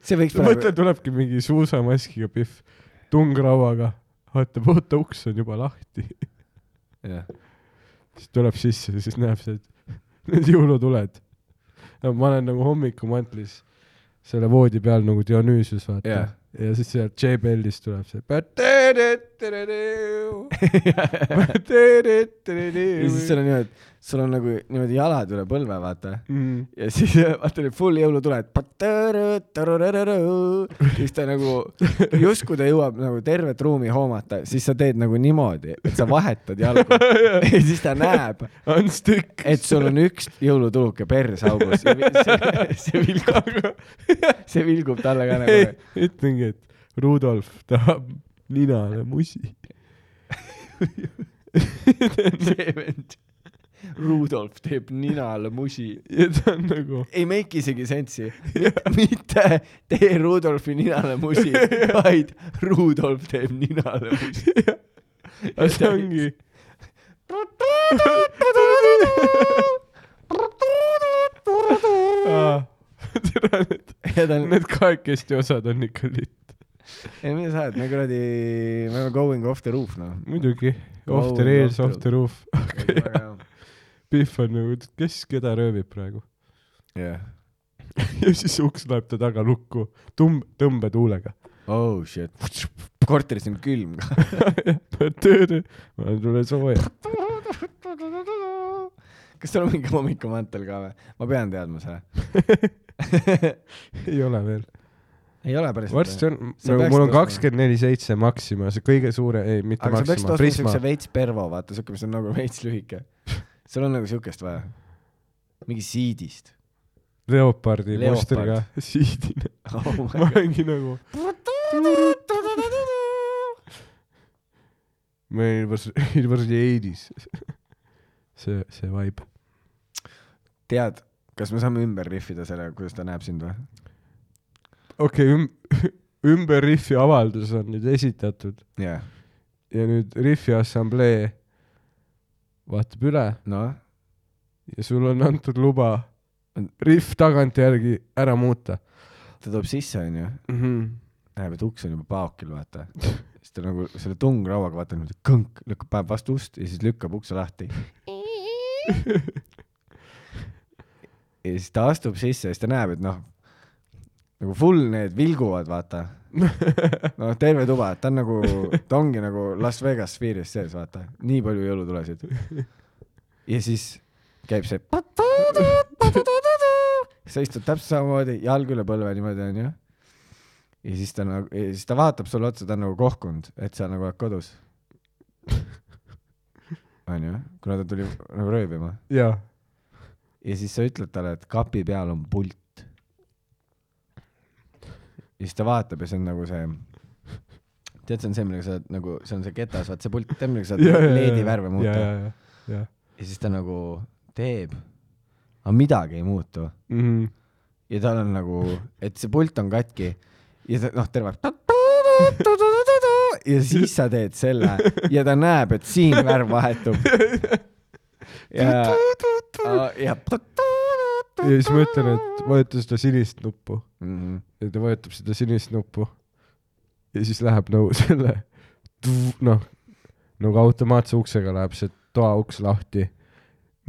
D: see võiks
C: mõtle , tulebki mingi suusamaskiga pihv , tungrauaga , vaatab , oota , uks on juba lahti ,
D: jah ,
C: siis tuleb sisse , siis näeb sealt need jõulutuled . no ma olen nagu hommikumantlis selle voodi peal nagu Dionüüsius , vaata
D: Jah.
C: ja siis sealt J-Bellist tuleb see .
D: ja siis sul on niimoodi , sul on nagu niimoodi jalad üle põlve , vaata .
C: Mm.
D: ja siis [LAUGHS] vaata need full jõulutuled . siis ta nagu , justkui ta jõuab nagu tervet ruumi hoomata , siis sa teed nagu niimoodi , et sa vahetad jalgu . ja siis ta näeb ,
C: Unstick .
D: et sul on üks jõulutuluke [LAUGHS] persaugus . see vilgub , [LAUGHS] see vilgub talle ka nagu
C: ei , ütlengi , et Rudolf tahab ninale musi . [LAUGHS]
D: see vend . Rudolf teeb ninale musi .
C: ja ta on nagu ,
D: ei make isegi [LAUGHS] sensi . mitte tee Rudolfi ninale musi , vaid Rudolf teeb ninale musi .
C: aga see ongi .
D: [LAUGHS]
C: tere , need ,
D: ja ta on ,
C: need kahekesti osad on ikka liit .
D: ei mida sa oled , me kuradi , me oleme going off the roof noh .
C: muidugi ,
D: Go
C: off the rails ,
D: off the-
C: off the roof . Pihv on nagu , kes keda röövib praegu .
D: jah .
C: [LAUGHS] ja siis uks läheb ta taga lukku , tumb , [LAUGHS] tõmbetuulega .
D: Oh shit . korteris on külm ka .
C: ma olen sulle sooja . [LAUGHS]
D: kas sul on mingi hommikumantel ka või ? ma pean teadma seda .
C: ei ole veel .
D: ei ole päris .
C: varsti on ,
D: Sa peaksid
C: mul on
D: ostma.
C: kakskümmend neli seitse Maxima , see kõige suurem , ei mitte
D: aga sa peaksid
C: Maxima ,
D: ostma
C: Prisma
D: siukse . veits pervo , vaata siuke , mis on nagu [LAUGHS] veits lühike . sul on nagu siukest vaja . mingi siidist . [LAUGHS]
C: Leopardi
D: Leopard.
C: mustriga [LAUGHS] siidine .
D: oh
C: ma
D: my god .
C: olengi nagu . meil was , [LAUGHS] it was the eighties . see , see vibe .
D: tead , kas me saame ümber rihvida selle , kuidas ta näeb sind või ?
C: okei okay, , [LAUGHS] ümber Riffi avaldus on nüüd esitatud
D: jah .
C: ja nüüd Riffi assamblee vaatab üle
D: noh ,
C: ja sulle on antud luba Riff tagantjärgi ära muuta
D: ta tuleb sisse , onju .
C: mm .
D: Mhm.
C: -hmm.
D: näeb , et uks on juba paokil , vaata . siis ta nagu selle tungrauaga vaatab niimoodi kõnk , lükkab , paneb vastu ust ja siis lükkab ukse lahti . ja siis ta astub sisse ja siis ta näeb , et noh , nagu full need vilguvad , vaata . noh , terve tuba , ta on nagu , ta ongi nagu Las Vegas sfääris sees , vaata , nii palju jõulutulesid . ja siis käib see . sa istud täpselt samamoodi , jalg üle põlve niimoodi onju . ja siis ta nagu , siis ta vaatab sulle otsa , ta on nagu kohkunud , et sa nagu oled kodus . onju , kuna ta tuli nagu röövima
C: [LAUGHS] jaa .
D: ja siis sa ütled talle , et kapi peal on pult . ja siis ta vaatab ja see on nagu see , tead , see on see , millega sa oled nagu , see on see ketas , vaat see pult , tead , millega
C: [LAUGHS]
D: sa saad leedi värve muuta ja, .
C: jaa , jaa ,
D: ja siis ta nagu teeb , aga midagi ei muutu Mhm.
C: [LAUGHS] jaa .
D: ja tal on nagu , et see pult on katki ja ta noh , terve aeg ja siis sa teed selle ja ta näeb , et siin värv vahetub . ja , ja .
C: ja siis ma ütlen , et vajuta seda sinist nuppu
D: mm .
C: ja ta vajutab seda sinist nuppu . ja siis läheb nagu selle , [LAUGHS] noh , nagu automaatse uksega läheb see toauks lahti ,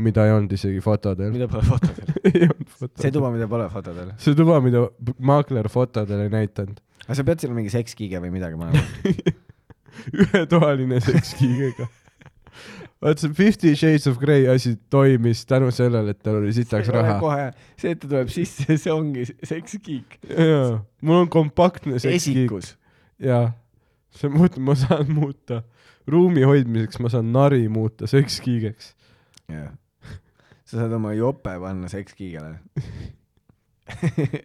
C: mida ei olnud isegi fotodel .
D: mida pole fotodel ?
C: [LAUGHS] ei olnud fotodel .
D: see tuba , mida pole fotodel .
C: see tuba , mida maakler fotodel ei näidanud .
D: aga sa pead seal mingi sekskiige või midagi panema .
C: [LAUGHS] ühetoaline sekskiigega . vaat see Fifty Shades of Grey asi toimis tänu sellele , et tal oli sitaks raha .
D: kohe , see , et ta tuleb sisse , see ongi sekskiik .
C: jaa , mul on kompaktne sekskiik .
D: esikus .
C: jaa , see muut- , ma saan muuta , ruumi hoidmiseks ma saan nari muuta sekskiigeks .
D: jah . sa saad oma jope panna sekskiigele . [LAUGHS]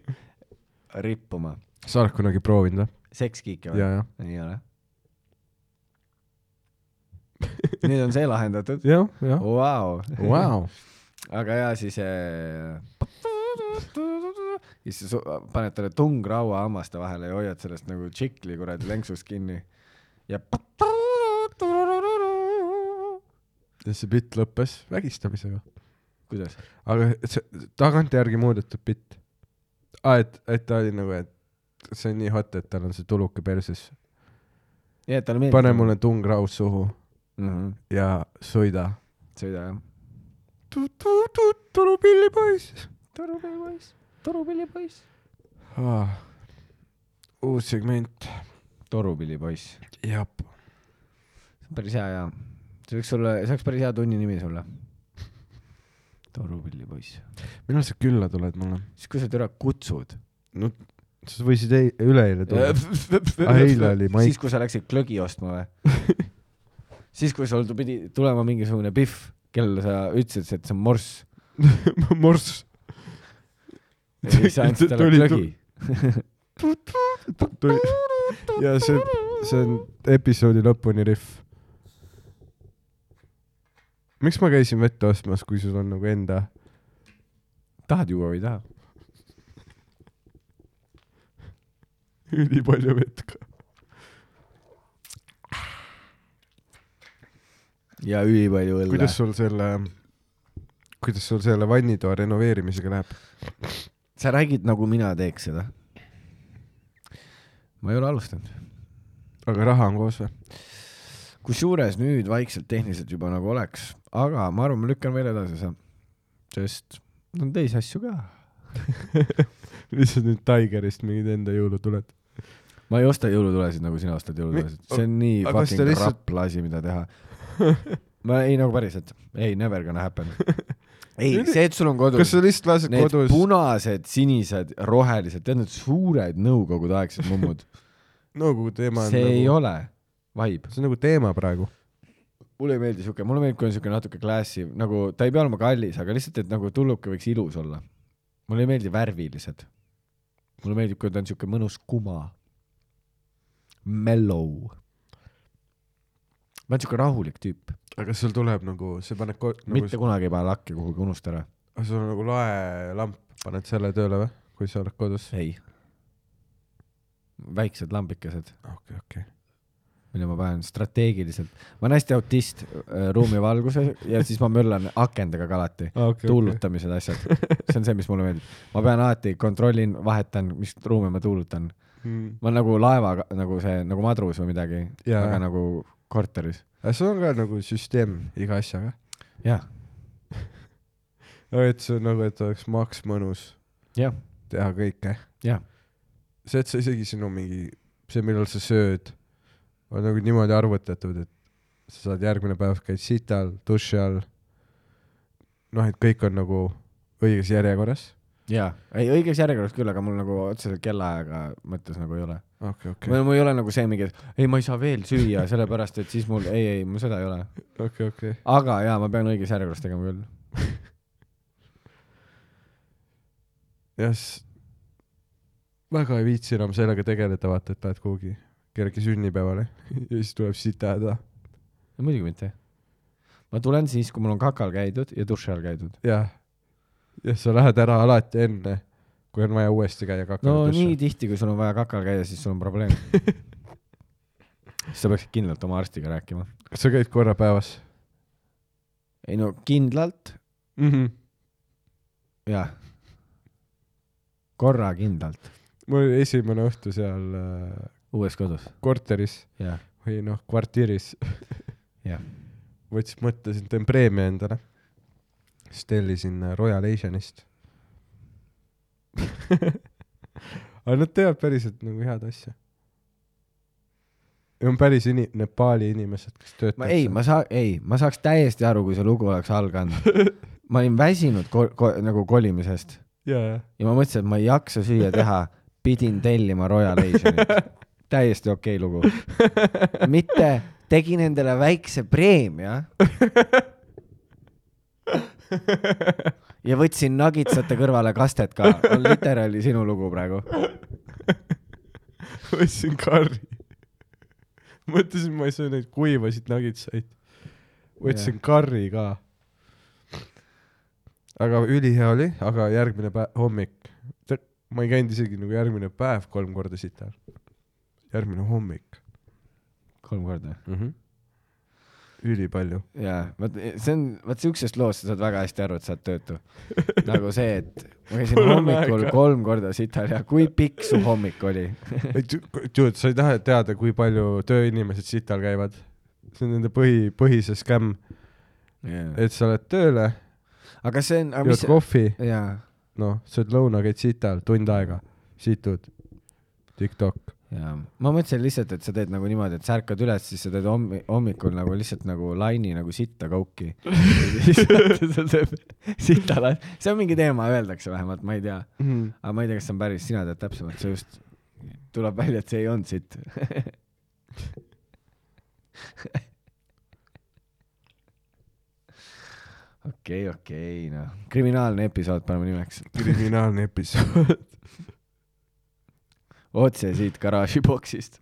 D: rippuma .
C: sa oled kunagi proovinud või ?
D: sekskiike või ?
C: jaa , jah .
D: ei ole . nüüd on see lahendatud .
C: jah ,
D: Oh,
C: jah .
D: Vau .
C: Vau .
D: aga ja siis äh... . ja siis su- paned talle tungraua hammaste vahele ja hoiad sellest nagu tšikli kuradi lenksust kinni ja .
C: ja see bitt lõppes vägistamisega .
D: kuidas ?
C: aga see tagantjärgi muudetud bitt ah, . et , et ta oli nagu , et see on nii hot , et tal on see tuluke perses .
D: nii , et talle meeldib .
C: pane mulle tungraud suhu
D: mm . -hmm.
C: ja sõida .
D: sõida jah .
C: turu pillipoiss
D: torupillipoiss , torupillipoiss .
C: ah, . uus segment .
D: torupillipoiss ,
C: jah .
D: päris hea ja . see võiks sulle , see oleks päris hea tunni nimi sulle . torupillipoiss .
C: millal sa külla tuled mulle ?
D: siis kui sa teda kutsud .
C: no sa võisid ei, üleeile tulla . [LAUGHS] Aga eile oli maik-
D: siis , kui sa läksid klõgi ostma või ? siis , kui sul pidi tulema mingisugune pihv , kellele sa ütlesid , et see on morss .
C: morss .
D: ja siis sa andsid
C: Tuli-
D: talle klõgi .
C: ja see , see on episoodi lõpuni rihv . miks ma käisin vett ostmas , kui sul on nagu enda [LAUGHS]
D: tahad juua või ei taha ?
C: ülipalju vett ka ?
D: ja ülipalju õlle
C: kuidas . sul selle , kuidas sul selle vannitoa renoveerimisega läheb ?
D: sa räägid , nagu mina teeks seda . ma ei ole alustanud .
C: aga raha on koos või ?
D: kusjuures nüüd vaikselt tehniliselt juba nagu oleks , aga ma arvan , ma lükkan veel edasi seda , sest on teisi asju ka .
C: lihtsalt nüüd Tigerist mingid enda jõulutuled .
D: ma ei osta jõulutulesid , nagu sina ostad jõulutulesid , see on nii
C: aga kas
D: fucking
C: te lihtsalt-
D: lihtsalt... rapla asi , mida teha . [LAUGHS] ma ei , nagu päriselt , ei never gonna
C: [LAUGHS]
D: happen . ei , see , et sul on
C: kas
D: kodus
C: sa lihtsalt lased
D: need
C: kodus
D: kodus... ? punased , sinised , rohelised , tead need suured nõukogudeaegsed
C: [LAUGHS]
D: mummud ,
C: nõukogude teema on
D: see ei
C: nagu ,
D: ole vibe .
C: see on nagu teema praegu .
D: mulle ei meeldi siuke , mulle meeldib , kui on siuke natuke classy , nagu ta ei pea olema kallis , aga lihtsalt , et nagu tulluke võiks ilus olla . mulle ei meeldi värvilised . mulle meeldib , kui ta on siuke mõnus kuma . Mellow . ma olen siuke rahulik tüüp ,
C: aga kas sul tuleb nagu , sa paned ko- , nagu
D: mitte kunagi ei pane lakki kuhugi , unusta ära .
C: aga sul on nagu laelamp , paned selle tööle või , kui sa oled kodus ?
D: ei . väiksed lambikesed ,
C: okei , okei .
D: mille ma panen strateegiliselt . ma olen hästi autist äh, ruumivalguses ja siis ma möllan akendega ka alati . tuulutamised , asjad . see on see , mis mulle meeldib . ma pean alati , kontrollin , vahetan , mis ruume ma tuulutan .
C: aga
D: ma olen nagu laevaga , nagu see , nagu madrus või midagi ,
C: Jaa.
D: aga nagu korteris .
C: sul on ka nagu süsteem iga asjaga ? [LAUGHS]
D: jah ,
C: et see on nagu , et oleks maks mõnus
D: jah ,
C: teha kõike .
D: jah .
C: see , et sa isegi sinu mingi , see , millal sa sööd , on nagu niimoodi arvutatud , et sa saad järgmine päev käid sital , duši all . noh , et kõik on nagu õiges järjekorras .
D: jaa , ei õiges järjekorras küll , aga mul nagu otseselt kellaajaga mõttes nagu ei ole
C: okei ,
D: okay. . mul ei ole nagu see mingi , et ei , ma ei saa veel süüa , sellepärast et siis mul , ei , ei , mul seda ei ole .
C: okei , okei .
D: aga jaa , ma pean õiges järjekorras tegema küll .
C: jah , siis väga ei viitsi enam sellega tegeleda , vaata , et lähed kuhugi kellegi sünnipäevale [LAUGHS] ja siis tuleb sita häda .
D: muidugi mitte . ma tulen siis , kui mul on kakal käidud ja duši all käidud .
C: jah . jah , sa lähed ära alati enne , kui on vaja uuesti käia kakal
D: no nii . tihti , kui sul on vaja kakal käia , siis sul on probleem . siis sa peaksid kindlalt oma arstiga rääkima .
C: kas sa käid korra päevas
D: ei no kindlalt ,
C: mm ? -hmm.
D: jah . korra kindlalt ,
C: mul oli esimene õhtu seal äh,
D: uues kodus ,
C: korteris
D: jah ,
C: või noh , kvartiris ,
D: jah .
C: võtsin , mõtlesin , teen preemia endale . siis tellisin äh, Royal Asianist . aga nad teevad päriselt nagu head asja . ja on päris ini- , Nepaali inimesed , kes
D: ma
C: töötavad
D: ei , ma saa- , ei , ma saaks täiesti aru , kui see lugu oleks alganud .
C: [LAUGHS]
D: ma olin väsinud ko- , ko- , nagu kolimisest
C: ja , ja ,
D: ja ma mõtlesin , et ma ei jaksa süüa teha , pidin tellima Royal Asianit . täiesti okei okay lugu . mitte , tegin endale väikse preemia . [LAUGHS] ja võtsin nagitsate kõrvale kastet [LAUGHS] ka , on literaali sinu lugu praegu .
C: [LAUGHS] võtsin karri . mõtlesin , ma ei söö neid kuivasid nagitsaid . võtsin karri ka . aga ülihea oli , aga järgmine päev , hommik , ma ei käinud isegi nagu järgmine päev kolm korda sital . järgmine hommik
D: kolm korda .
C: mm . -hmm. ülipalju .
D: jaa , vot see on , vot siuksest loost sa saad väga hästi aru , et sa oled [LAUGHS] töötu . nagu see , et ma käisin
C: Mul on
D: hommikul
C: aega.
D: kolm korda sital ja kui pikk su hommik oli ?
C: tead , sa ei taha teada , kui palju tööinimesed sital käivad . see on nende põhi , põhise skämm , et sa lähed tööle ,
D: aga see on , aga mis
C: jood , kohvi
D: jaa ,
C: noh , sööd lõuna , käid sital tund aega , situd , Tiktok .
D: jaa . ma mõtlesin lihtsalt , et sa teed nagu niimoodi , et sa ärkad üles , siis sa teed hommi- , hommikul nagu lihtsalt nagu laini nagu sitta [LAUGHS] kauki . sita lain , see on mingi teema , öeldakse vähemalt , ma ei tea . aga ma ei tea , kas see on päris , sina tead täpsemalt , see just tuleb välja , et see ei olnud sitt okei , okei , noh , kriminaalne episood paneme nimeks .
C: kriminaalne
D: [LAUGHS]
C: episood .
D: otse siit garaažiboksist .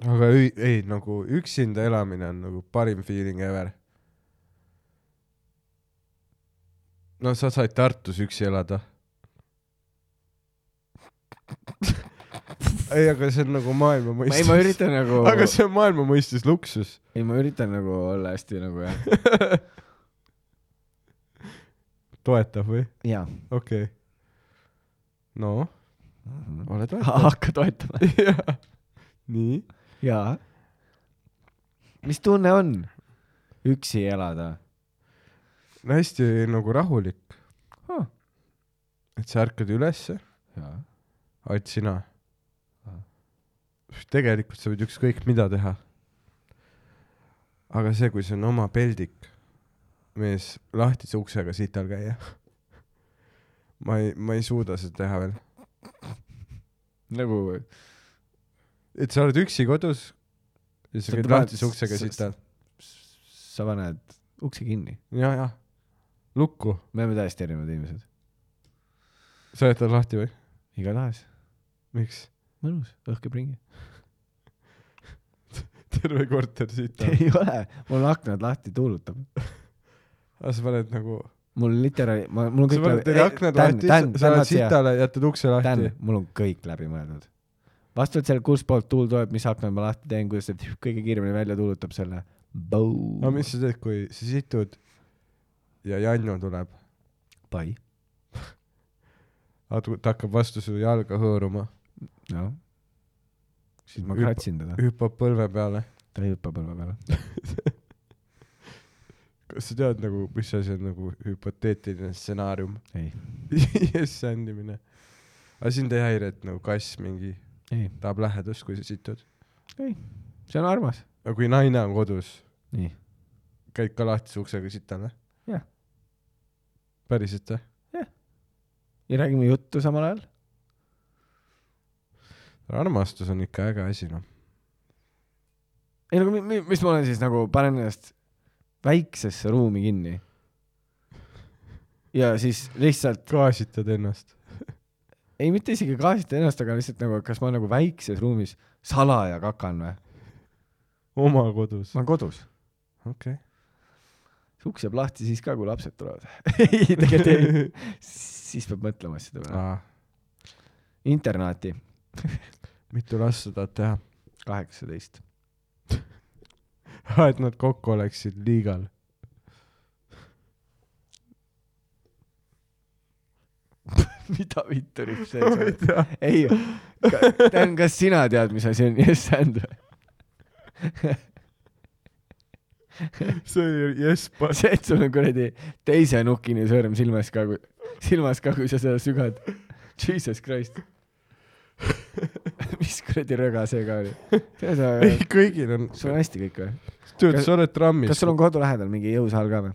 C: aga
D: jaa ,
C: ei, ei , nagu üksinda elamine on nagu parim feeling ever . no sa said Tartus üksi
D: [LAUGHS]
C: elada . ei , aga see on nagu maailma
D: Ma
C: mõistes .
D: ei- ma üritan nagu-
C: [LAUGHS] aga see on maailma mõistes luksus .
D: ei ma üritan nagu olla hästi nagu jah ,
C: toetab või ?
D: jaa .
C: okei okay. .
D: [LAUGHS]
C: no , ole toetav .
D: hakka toetama .
C: jah , nii .
D: jaa . mis tunne on üksi elada
C: no hästi nagu rahulik ,
D: huh. ?
C: et sa ärkad ülesse ,
D: jaa ,
C: oled sina
D: Ah. .
C: tegelikult sa võid ükskõik mida teha . aga see , kui see on oma peldik , mees lahtise uksega sital käia . ma ei , ma ei suuda seda teha veel .
D: nagu
C: et sa oled üksi kodus ja sa
D: Sa
C: käid
D: paned-
C: lahtise uksega
D: sa-
C: sital .
D: sa paned ukse kinni .
C: ja , ja , lukku ,
D: me oleme täiesti erinevad inimesed .
C: sa jätad lahti või ?
D: igatahes
C: miks ? [LAUGHS]
D: mõnus , õhk käib ringi .
C: terve korter sital .
D: [LAUGHS] [LAUGHS] ei ole , mul on aknad lahti , tuulutab .
C: aga sa paned nagu ,
D: mul literaali , ma , mul on
C: sa
D: kõik
C: paned teile aknad lahti , sa lähed sitale , jätad ukse
D: Dan
C: lahti .,
D: mul on kõik läbi mõeldud . vastavalt sellele , kustpoolt tuul tuleb , mis aknad ma lahti teen , kuidas see [LAUGHS] kõige kiiremini välja tuulutab selle .
C: aga mis sa teed , kui sa situd ja Janno tuleb ,
D: pai ?
C: ta hakkab vastu su jalga hõõruma ,
D: noh . siis ma
C: Hüppa-
D: kratsin teda ,
C: hüppab põlve peale ,
D: ta ei hüppa põlve peale .
C: kas sa tead nagu , mis asi on nagu hüpoteetiline stsenaarium [LAUGHS]
D: ei ,
C: ja sändimine ? aga sind ei häiri , et nagu kass mingi
D: ei ,
C: tahab lähedust , kui sa situd ?
D: ei , see on armas .
C: aga kui naine on kodus ,
D: nii ,
C: käid ka lahtise uksega sitale ?
D: Jah. .
C: päriselt või ?
D: ja räägime juttu samal ajal .
C: armastus on ikka äge asi , noh .
D: ei , nagu mi- mi- mis ma olen siis nagu , panen ennast väiksesse ruumi kinni . ja siis lihtsalt ,
C: gaasitad ennast .
D: ei mitte isegi gaasita ennast , aga lihtsalt nagu , kas ma olen nagu väikses ruumis salaja kakan või ?
C: oma kodus .
D: ma olen kodus .
C: okei .
D: see uks jääb lahti siis ka , kui lapsed tulevad . [LAUGHS] ei , tegelikult ei . siis peab mõtlema asjade peale . internaati
C: mitu last sa tahad teha ? [LAUGHS]
D: kaheksateist .
C: et nad kokku oleksid liigal .
D: [LAUGHS] mida Vittorip [LAUGHS] see on ? ei , tähendab , kas sina tead , mis asi on yes and või ?
C: see oli jess [LAUGHS] pass .
D: see , et sul on kuradi teise nukini sõõrm silmas ka , silmas ka , kui sa seda sügad . Jesus Christ . mis kuradi röga see ka oli ?
C: ei , [LAUGHS] kõigil on .
D: sul Äh, on hästi kõik või ?
C: tead ,
D: kas-
C: sa oled trammis .
D: kas sul on kodu lähedal mingi jõusaal ka või ?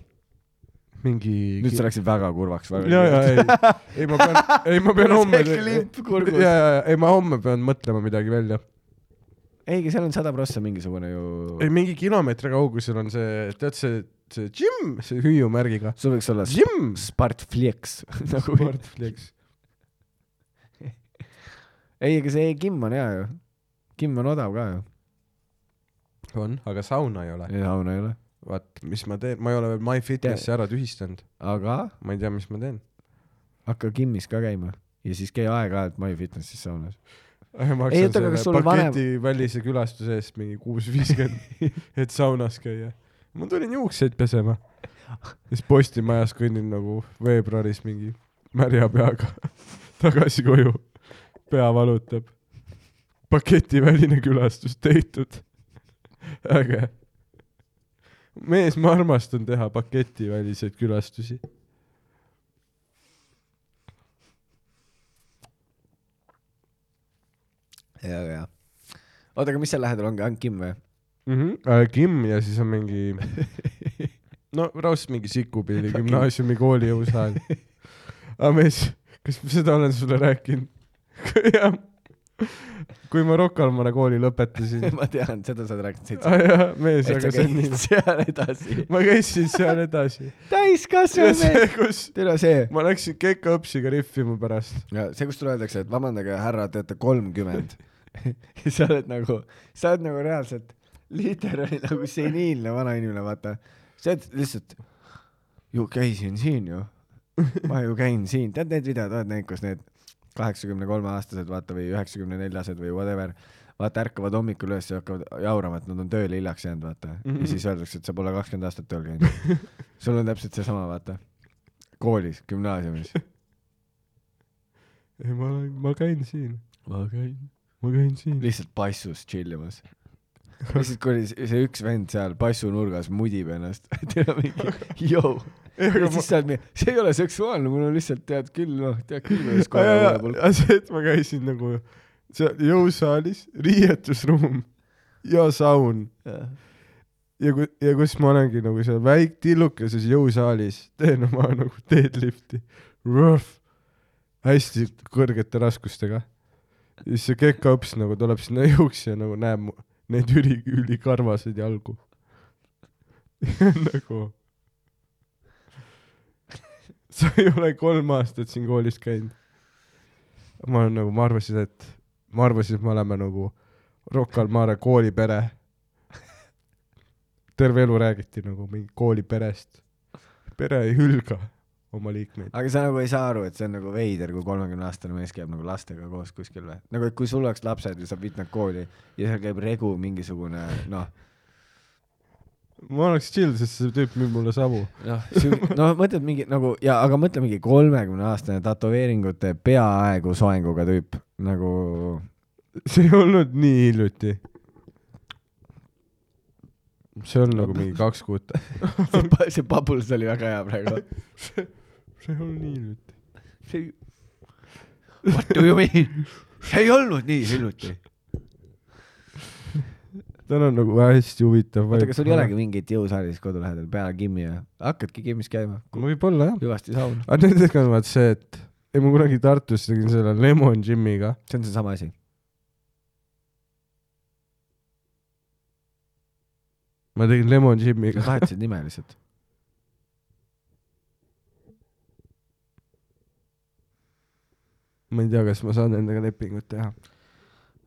C: mingi ?
D: nüüd
C: [LAUGHS]
D: sa läksid väga kurvaks .
C: ja , ja , ei , ei ma pean , ei ma
D: [LAUGHS]
C: pean homme .
D: see
C: [LAUGHS]
D: klimp kurgus.
C: ja , ja , ei ma homme pean mõtlema midagi välja .
D: ei , aga seal on sada prossa mingisugune ju .
C: ei , mingi kilomeetri kaugusel on see , tead see , see Jim , see hüüumärgiga .
D: sul võiks olla
C: Jim .
D: Spartflex [LAUGHS] nagu .
C: Sportflex .
D: ei , aga see Kim on hea ju . Kim on odav ka ju .
C: on , aga sauna ei ole .
D: ei , sauna ei ole .
C: vaat , mis ma teen , ma ei ole veel MyFitnessi ära tühistanud .
D: aga
C: ma ei tea , mis ma teen .
D: hakka Kimmis ka käima ja siis käi aeg-ajalt MyFitnessis saunas .
C: Äh, ma maksan
D: Ei, oota, aga
C: selle
D: kas sul on vanem-
C: paketi välise külastuse eest mingi kuus viiskümmend , [LAUGHS] et saunas käia . ma tulin juukseid pesema . siis postimajas kõnnin nagu veebruaris mingi märja peaga [LAUGHS] tagasi koju . pea valutab . paketiväline külastus tehtud . [LAUGHS] äge . mees , ma armastan teha paketiväliseid külastusi .
D: ja , ja . oota , aga mis seal lähedal ongi , ainult Kim või ? [LAUGHS] Mhm.
C: mm . -hmm. Kim ja siis on mingi , no raudselt mingi Sikupilli gümnaasiumi kooli jõusaal . aga mees , kas ma seda olen sulle rääkinud ? [LAUGHS] jah . kui ma Rocca al Mare kooli lõpetasin .
D: [LAUGHS] ma tean , seda sa oled rääkinud seitse .
C: jah , mees ,
D: et sa
C: aga see on
D: käid
C: nii .
D: seal edasi .
C: [LAUGHS] ma käisin seal
D: [LAUGHS]
C: edasi . ja
D: täiskasvanud
C: see [LAUGHS]
D: mees .,
C: kus
D: tule see .
C: ma läksin kekaõpsiga rihvima pärast .
D: ja see , kus sulle öeldakse , et vabandage , härra , te olete kolmkümmend . [LAUGHS] ja sa oled nagu , sa oled nagu reaalselt , literaali nagu seniilne vanainimene , vaata . sa oled lihtsalt , ju käisin siin ju . [LAUGHS] ma ju käin siin , tead need videod , oled näinud , kus need kaheksakümne kolme aastased , vaata , või üheksakümne neljased või whatever , vaata , ärkavad hommikul üles ja hakkavad jaurama , et nad on tööle hiljaks jäänud , vaata mm . -hmm. ja siis öeldakse , et sa pole kakskümmend aastat tööl käinud . sul on täpselt seesama , vaata . koolis , gümnaasiumis .
C: [LAUGHS] ei , ma olen , ma käin siin ,
D: ma käin
C: ma käin siin .
D: lihtsalt passus chill imas . lihtsalt kuradi see see üks vend seal passunurgas mudib ennast . [LAUGHS] tead mingi , joo . ja siis sa oled mingi , see ei ole seksuaalne , mul on lihtsalt tead küll , noh , tead küll , kuidas kohe mulle pole .
C: aga see , et ma käisin nagu seal jõusaalis , riietusruum ja saun ja ku- , ja kus ma olengi nagu seal väik- , tillukeses jõusaalis , teen oma nagu deadlift'i , hästi kõrgete raskustega . ja siis see kekaõps nagu tuleb sinna [LAUGHS] jõuks ja nagu näeb mu- neid üli , ülikarvaseid jalgu [LAUGHS] nagu sa ei ole kolm aastat siin koolis käinud . ma olen nagu , ma arvasin , et , ma arvasin , et me oleme nagu Rocca al Mare koolipere . terve elu räägiti nagu mingi kooliperest . pere ei hülga oma liikmeid .
D: aga sa nagu ei saa aru , et see on nagu veider , kui kolmekümne aastane mees käib nagu lastega koos kuskil või ? nagu , et kui sul oleks lapsed ja sa viid nad kooli ja seal käib regu mingisugune , noh ,
C: ma oleks chill , sest see tüüp müüb mulle savu .
D: noh , no mõtled mingi nagu ja , aga mõtle mingi kolmekümne aastane tätoveeringute peaaegu soenguga tüüp nagu
C: see ei olnud nii hiljuti . see on nagu mingi kaks kuud .
D: [LAUGHS] see pa- see Bubbles oli väga hea praegu .
C: see on nii nüüd .
D: What do you mean ? see ei olnud nii hiljuti .
C: tal on nagu hästi huvitav .
D: oota , kas sul ei olegi mingit jõusaalis kodu lähedal peale gimmi ja hakkadki gimmis käima ?
C: võib-olla jah .
D: hüvasti saun .
C: aga nendega on vaat see , et ei ma kunagi Tartus tegin selle Lemon Gymiga .
D: see on seesama asi .
C: ma tegin Lemon Gymiga
D: sa . vahetasid nime lihtsalt .
C: ma ei tea , kas ma saan nendega lepingut teha .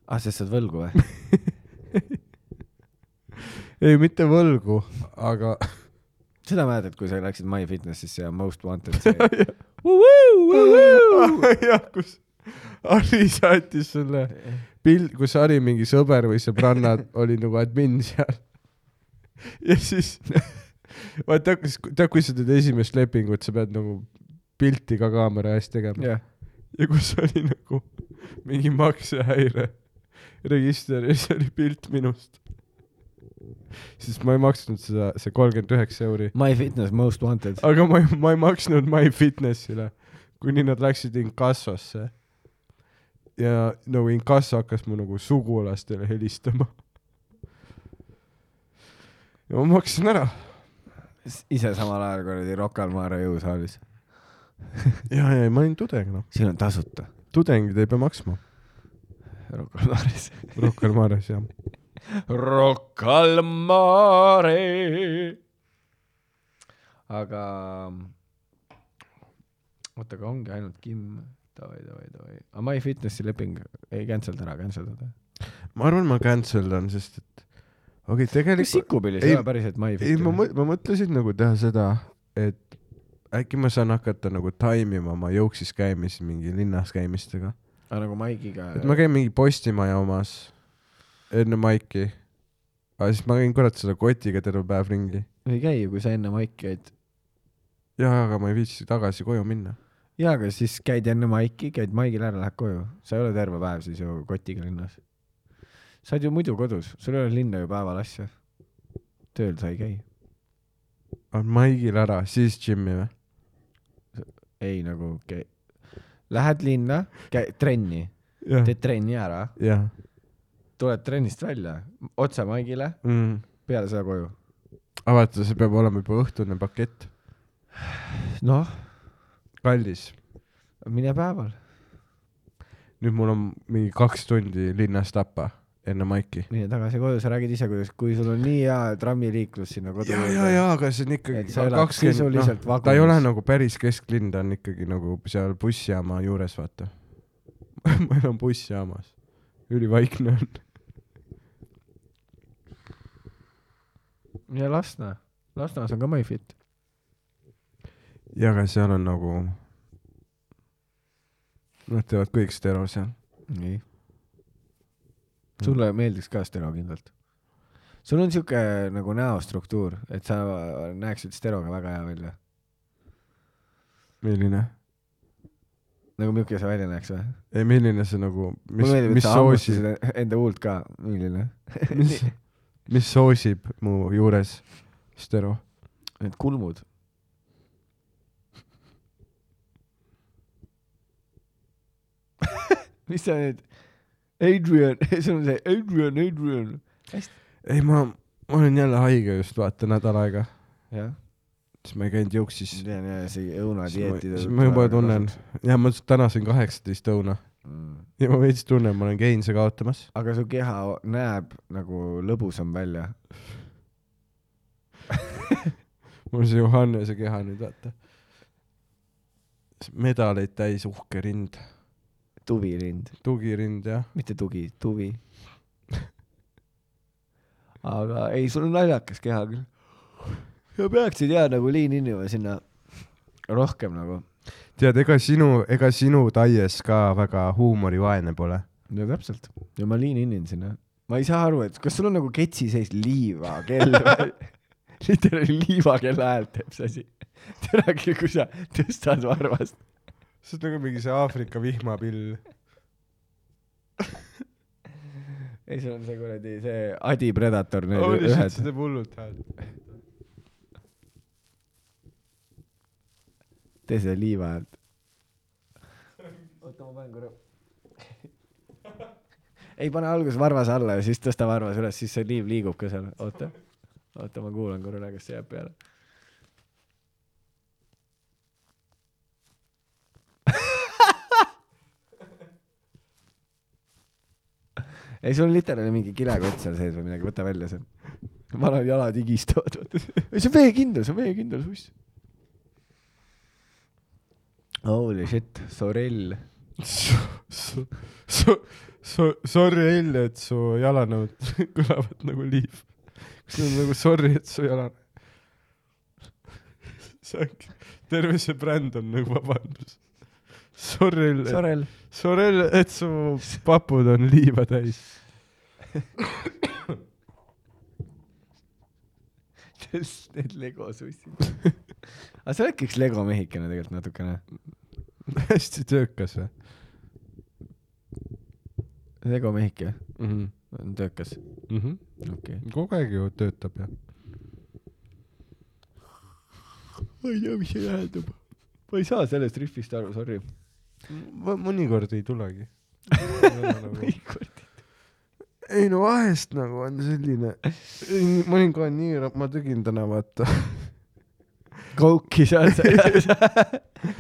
D: ah , sest sa oled võlgu või ?
C: ei , mitte võlgu , aga
D: seda mäletad , kui sa läksid MyFitnessisse ja Most Wanted [LAUGHS] see
C: [LAUGHS] jah , kus Ari saatis sulle pild , kus Ari mingi sõber või sõbranna oli nagu admin seal . [LAUGHS] ja siis [LAUGHS] vaata hakkas , tead , kui sa teed esimest lepingut , sa pead nagu pilti ka kaamera ees tegema
D: [LAUGHS] jah ,
C: ja kus oli nagu mingi maksehäire register ja siis oli pilt minust . siis ma ei maksnud seda , see kolmkümmend üheksa euri .
D: MyFitness Most Wanted .
C: aga ma ei , ma ei maksnud MyFitnessile , kuni nad läksid inkassosse . ja nagu inkasso hakkas mu nagu sugulastele helistama . ja ma maksin ära
D: ise samal ajal kuradi Rocca al Mare jõusaalis .
C: ja , ja ma olin tudeng noh ,
D: siin on tasuta .
C: tudengid ei pea maksma .
D: Rocca al Mares .
C: Rock al Mares jah .
D: [LAUGHS] Rocca al Mare . aga , oota , aga ongi ainult Kim , davai , davai , davai . aga MyFitnessi leping ei cancel ära , cancel ära .
C: ma arvan , ma cancel dan , sest et okei okay, ,
D: kas
C: tegelikult
D: Sikupillis
C: ei-
D: ei ole päriselt
C: ei , ma
D: MyFitness ?
C: mõ- , ma mõtlesin nagu teha seda , et äkki ma saan hakata nagu taimima oma jooksis käimist mingi linnas käimistega .
D: aga nagu Maikiga .
C: et ma käin mingi Postimaja omas enne maiki . aga siis ma käin kurat selle kotiga terve päev ringi .
D: ei käi ju , kui sa enne Maiki käid .
C: jaa , aga ma ei viitsi tagasi koju minna .
D: jaa , aga siis käid enne Maiki , käid Maigil ära , lähed koju . sa ei ole terve päev siis ju kotiga linnas . sa oled ju muidu kodus , sul ei ole linna ju päeval asja . tööl sa ei käi .
C: on maigil ära , siis džimmi või ?
D: ei nagu käi- , lähed linna , käi trenni ,
C: jah ,
D: teed trenni ära ,
C: jah
D: tuled trennist välja , otse Maigile ,
C: mm. .
D: peale seda koju .
C: aga vaata , see peab olema juba õhtune pakett .
D: noh ,
C: kallis .
D: mine päeval ,
C: nüüd mul on mingi kaks tundi linnas tappa enne maiki .
D: mine tagasi koju , sa räägid ise , kuidas , kui sul on nii hea trammiliiklus sinna kodu
C: ja , ja ,. ja , aga see on ikkagi
D: Et sa elad sisuliselt
C: noh , ta ei
D: vagunis.
C: ole nagu päris kesklinn , ta on ikkagi nagu seal bussijaama juures , vaata . [LAUGHS] ma elan bussijaamas , ülivaikne on .
D: ja Lasna , Lasnas on ka MyFit .
C: ja , aga seal on nagu , nad teevad kõik stero seal .
D: ei . sulle meeldiks ka stereo kindlalt ? sul on siuke nagu näostruktuur , et sa näeksid stereoga väga hea välja .
C: milline ?
D: nagu milline sa välja näeks või ?
C: ei , milline see nagu , mis
D: mulle , meeldib , et
C: mis
D: sa
C: soosib ,
D: hammustasid enda huult ka , milline .
C: mis , mis soosib mu juures stero ?
D: [LAUGHS] Need kulmud . [LAUGHS] mis sa nüüd , Adrian , [LAUGHS] sul on see Adrian , Adrian .
C: ei , ma , ma olen jälle haige just vaata nädal aega ,
D: jah ,
C: siis ma ei käinud jooksis .
D: ma tean jah , see
C: siis
D: õunadieeti .
C: ma- siis ma juba tunnen , ja ma täna sain kaheksateist õuna
D: mm. .
C: ja ma veits tunnen , ma olen geense kaotamas .
D: aga su keha o- näeb nagu lõbusam välja .
C: mul see Johannese keha nüüd vaata . medaleid täis uhke rind ,
D: tuvirind ,
C: tugirind jah .
D: mitte tugi , tuvi . [LAUGHS] aga ei , sul on naljakas keha küll . sa peaksid jääma nagu lean in'i või sinna rohkem nagu .
C: tead , ega sinu , ega sinu taies ka väga huumorivaene pole .
D: no täpselt . ja ma lean in'in sinna . ma ei saa aru , et kas sul on nagu ketsi sees liivakell [LAUGHS] või ? literaali liivakella häält teeb see asi . [LAUGHS] tere , kui sa tõstad varvast .
C: sa oled nagu mingi see Aafrika vihmapill .
D: ei , sul on see kuradi , see Adi Predator , need
C: holy shit ,
D: ühed
C: see . teeb hullult häält .
D: tee seda liiva häält . oota , ma panen korra . [LAUGHS] ei , pane alguses varvas alla ja siis tõsta varvas üles , siis see liiv liigub ka seal , oota . oota , ma kuulan korra üle , kas see jääb peale . [LAUGHS] ei , sul on literaali mingi kilekott seal sees või midagi , võta välja see . vanad jalad higistavad . [LAUGHS] ei , see on veekindel , see on veekindel suss . Holy shit , Sorel .
C: So- , so- , sorry , Elli , et su jalanõud [LAUGHS] kõlavad nagu liiv . kas need on nagu sorry , et su jala . see ongi , terve see bränd on nagu vabandus . Sorry , Elli ,
D: Sorel .
C: sorry , Elli , et su papud on liiva täis .
D: Need Lego sussid . aga sa oledki üks Lego mehikene tegelikult natukene .
C: hästi töökas või
D: Lego mehik jah ?
C: mm ?
D: töökas .
C: -hmm.
D: okei okay. .
C: kogu aeg ju töötab ja .
D: ma ei tea , mis see tähendab . ma ei saa sellest rihvist aru , sorry .
C: mõnikord ei tulegi [LAUGHS] ei no vahest nagu on selline , mõnikord on nii , ma tegin täna vaata .
D: Coke'i saad sa . [LAUGHS]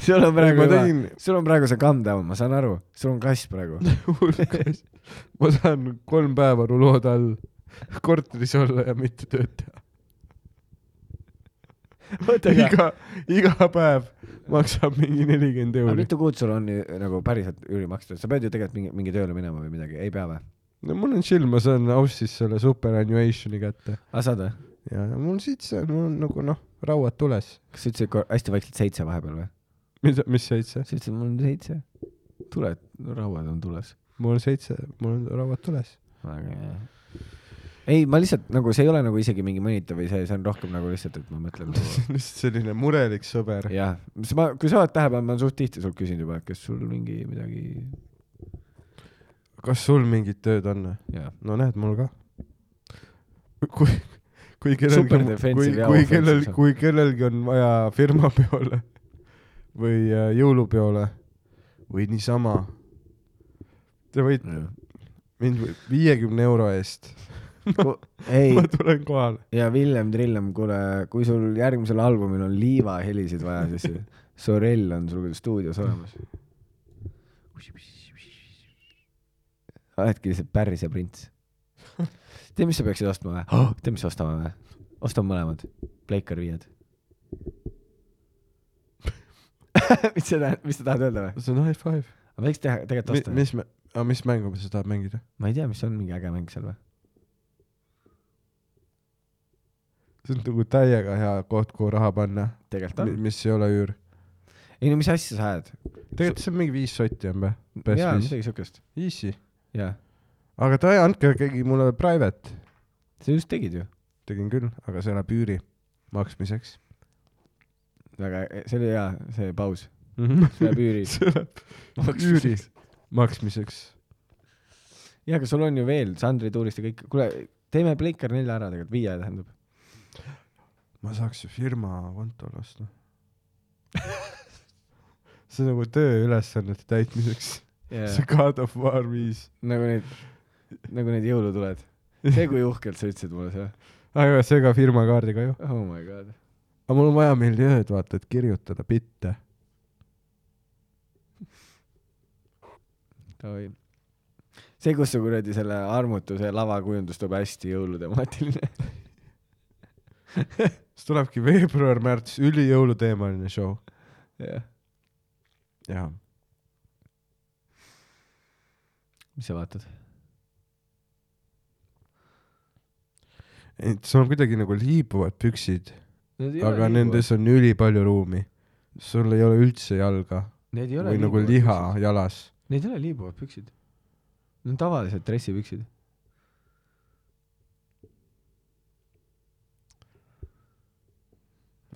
D: sul on praegu
C: ma
D: juba
C: tegin ,
D: sul on praegu see calm down , ma saan aru , sul on kass praegu .
C: [LAUGHS] hulgas , ma saan kolm päeva rulood all korteris olla ja mitte tööd teha .
D: oota , aga
C: iga , iga päev maksab mingi nelikümmend
D: aga
C: euri .
D: mitu kuud sul on nii, nagu päriselt üüri makstud , sa pead ju tegelikult mingi , mingi tööle minema või midagi , ei pea või ?
C: no mul on chill , ma saan Aussis selle superannuation'i kätte
D: aa , Ah, saad või ?
C: ja mul siit see , mul on nagu noh , rauad tules .
D: kas sa ütlesid kor- hästi vaikselt seitse vahepeal või ?
C: mida , mis seitse ?
D: sa ütlesid , mul on seitse . tuled , rauad on tules .
C: mul on seitse , mul on rauad
D: [LAUGHS]
C: tules .
D: väga hea . ei , ma lihtsalt nagu see ei ole nagu isegi mingi mõnitav või see , see on rohkem nagu lihtsalt , et ma mõtlen nagu
C: lihtsalt selline murelik sõber .
D: jah , mis ma , kui sa oled tähele pannud , ma olen suht tihti sult küsinud juba , et kas sul mingi midagi ,
C: kas sul mingit tööd on või ?
D: jah .
C: no näed , mul ka . kui , kui
D: Super
C: kellelgi ,
D: defensive
C: kui ,
D: ja
C: kui
D: offensive
C: kellel
D: saab. ,
C: kui kellelgi on vaja [LAUGHS] firmapeole või äh, jõulupeole või niisama , te võite mind viiekümne euro eest ,
D: ei
C: ma tulen kohale .
D: ja Villem Trillem , kuule , kui sul järgmisel albumil on liivahelisid vaja , siis [LAUGHS] Sorel on sul stuudios olemas . oledki lihtsalt päris ja prints . tead , mis sa peaksid ostma või oh, ? tead , mis ostame või ? ostame mõlemad , Playcar viied . mis sa tahad , mis sa tahad öelda või ?
C: see on high five .
D: aga võiks teha , tegelikult osta .
C: mis , aga mis mängu sa tahad mängida ?
D: ma ei tea , mis on mingi äge mäng seal või ?
C: see on nagu täiega hea koht , kuhu raha panna ,
D: tegelikult on .
C: mis ei ole üür .
D: ei no mis asja sa ajad ?
C: tegelikult see on mingi viis sotti on või ? Best
D: jaa ,
C: viis.
D: midagi siukest .
C: Easy .
D: jaa ,
C: aga ta , andke keegi mulle private .
D: sa just tegid ju .
C: tegin küll , aga see läheb üüri maksmiseks
D: väga , see oli hea , see paus .
C: mm .
D: see läheb üüri .
C: [LAUGHS] see läheb üüri maksmiseks .
D: jaa , aga sul on ju veel Sandri tuurist ja kõik , kuule , teeme Playcar nelja ära tegelikult , viie tähendab .
C: ma saaks ju firma kontole osta . [LAUGHS] see on nagu tööülesannete täitmiseks yeah. . see God of War viis .
D: nagu need , nagu need jõulutuled . see , kui uhkelt sa ütlesid mulle seda .
C: aga see ka firma kaardiga ju .
D: oh my god .
C: aga mul on vaja miljööd , vaata , et kirjutada bitte .
D: Davai . see , kus su kuradi selle armutuse lavakujundus tuleb hästi jõulutemaatiline .
C: [LAUGHS] siis tulebki [LAUGHS] veebruar-märts ülijõuluteemaline show .
D: jah .
C: jaa .
D: mis sa vaatad ?
C: et sul on kuidagi nagu liibuvad püksid , aga nendes on ülipalju ruumi . sul ei ole üldse jalga
D: Need ei ole
C: või nagu
D: liibuvad
C: liha
D: püksid.
C: jalas .
D: Need ei ole liibuvad püksid . Need on tavalised dressipüksid .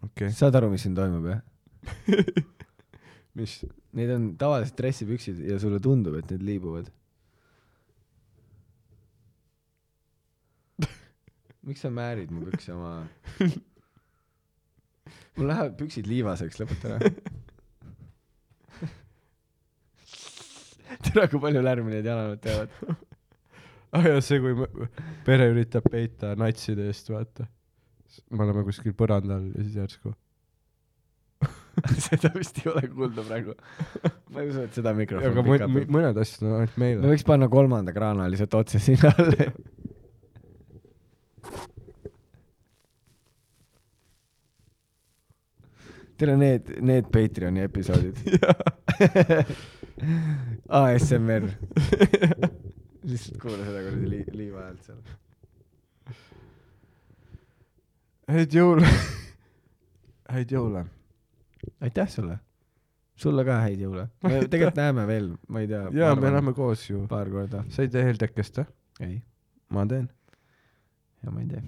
C: Okei. [LAUGHS]
D: saad aru , mis siin toimub , jah ?
C: mis ?
D: Need on tavalised dressipüksid ja sulle tundub , et need liibuvad . miks sa määrid mu pükse maha ? mul lähevad püksid liivaseks , lõpeta ära . tere , kui palju lärmi need jalanõud teevad . [LAUGHS]
C: ah ja see , kui ma- pere üritab peita natside eest , vaata . me oleme kuskil põranda all ja siis järsku .
D: seda vist ei ole kuulda praegu . ma ei usu , et seda
C: aga
D: mikrofoni
C: mõ-
D: pikalt
C: mõ-
D: on .
C: mõned asjad on ainult meile [LAUGHS]
D: me . võiks panna kolmanda kraana lihtsalt otse sinna alla . tere , need , need Patreoni episoodid . [LAUGHS] ASMR . lihtsalt kuula seda kuradi li- , liiva häält seal .
C: [LAUGHS] häid jõule . häid jõule .
D: aitäh sulle . sulle ka häid jõule . me tegelikult näeme veel , ma ei tea .
C: ja me elame koos ju .
D: paar korda .
C: sa ei tee eeltekest või ?
D: ei ,
C: ma teen .
D: ja ma ei tea .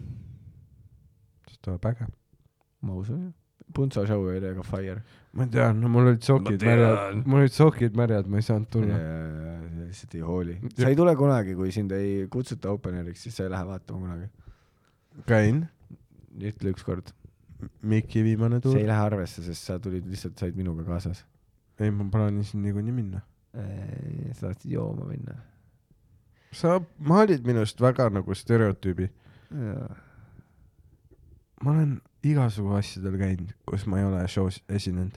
C: siis tuleb äge .
D: ma usun jah . Punso show oli väga fire .
C: ma tean , no mul olid sokid
D: Ma tean.
C: märjad , mul olid sokid märjad , ma ei saanud tulla .
D: lihtsalt ei hooli . sa ei tule kunagi , kui sind ei kutsuta openeriks , siis sa ei lähe vaatama kunagi .
C: käin .
D: ütle ükskord .
C: Miki viimane
D: see ei
C: tuur .
D: lähe arvesse , sest sa tulid lihtsalt , said minuga kaasas .
C: ei , ma plaanisin niikuinii minna .
D: sa tahtsid jooma minna .
C: sa maalid minust väga nagu stereotüübi . ma olen igasugu asjadel käinud , kus ma ei ole show's esinenud .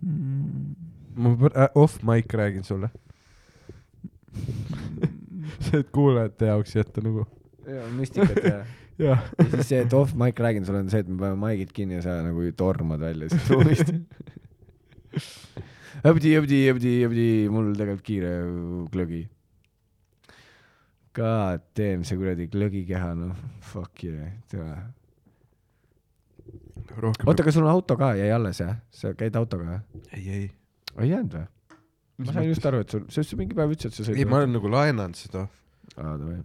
C: ma pr- äh, off-mic räägin sulle . [LAUGHS] see , et kuulajate jaoks jätta nagu .
D: jaa , müstikat jah .
C: jah ,
D: ja siis see , et off mic räägin sulle , on see , et me paneme maigid kinni ja sa nagu tormad välja siit [LAUGHS] ruumist . Õpdi , õpdi , õpdi , õpdi , mul tegelikult kiire glögi . God damn , see kuradi glögikeha , noh , fuck yeah , tere .
C: rohkem .
D: oota ,, aga sul on auto ka jäi alles jah ? sa käid autoga jah ?
C: ei , ei .
D: ei jäänud või ? ma sain just aru , et sul , sa just mingi päev ütlesid , et sa sõid .
C: ei , ma olen nagu laenanud seda ,
D: aa , davai .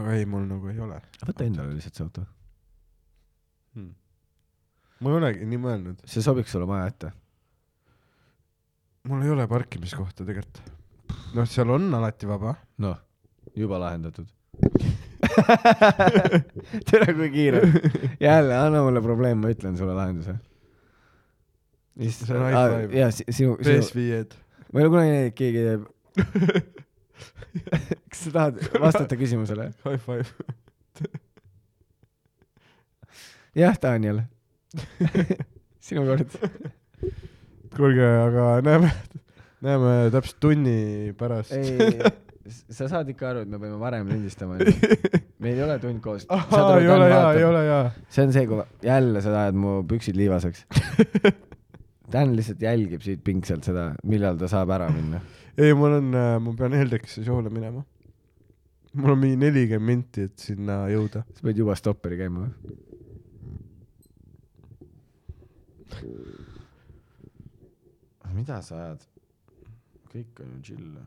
C: aga ei , mul nagu ei ole
D: võta endale lihtsalt see auto .
C: hmm. . ma ei olegi nii mõelnud .
D: see sobiks sulle maja ette .
C: mul ei ole parkimiskohta tegelikult . noh , seal on alati vaba .
D: noh , juba lahendatud . [LAUGHS] tere , kui kiire . jälle , anna mulle probleem , ma ütlen sulle lahenduse .
C: See on high five.
D: jaa , sinu , sinu ,
C: PS5-d .
D: ma ei ole kunagi näinud , et keegi teeb . [LAUGHS] kas sa tahad vastata küsimusele ?
C: High five .
D: jah , Daniel . [LAUGHS] sinu kord .
C: kuulge , aga näeme , näeme täpselt tunni pärast .
D: [LAUGHS] ei , sa saad ikka aru , et me peame varem [LAUGHS]
C: [LAUGHS]
D: lindistama . meil ei ole tund koos .
C: ahaa , ei ole jaa , ei ole jaa .
D: see on see , kui ma- jälle sa ajad mu püksid [LAUGHS] liivaseks . Dan lihtsalt jälgib siit pingsalt seda , millal ta saab ära minna .
C: ei , mul on , ma pean Heldekisse show'le minema . mul on mingi nelikümmend minti , et sinna jõuda .
D: sa pead juba stopperi käima või ? mida sa ajad ? kõik on ju chill .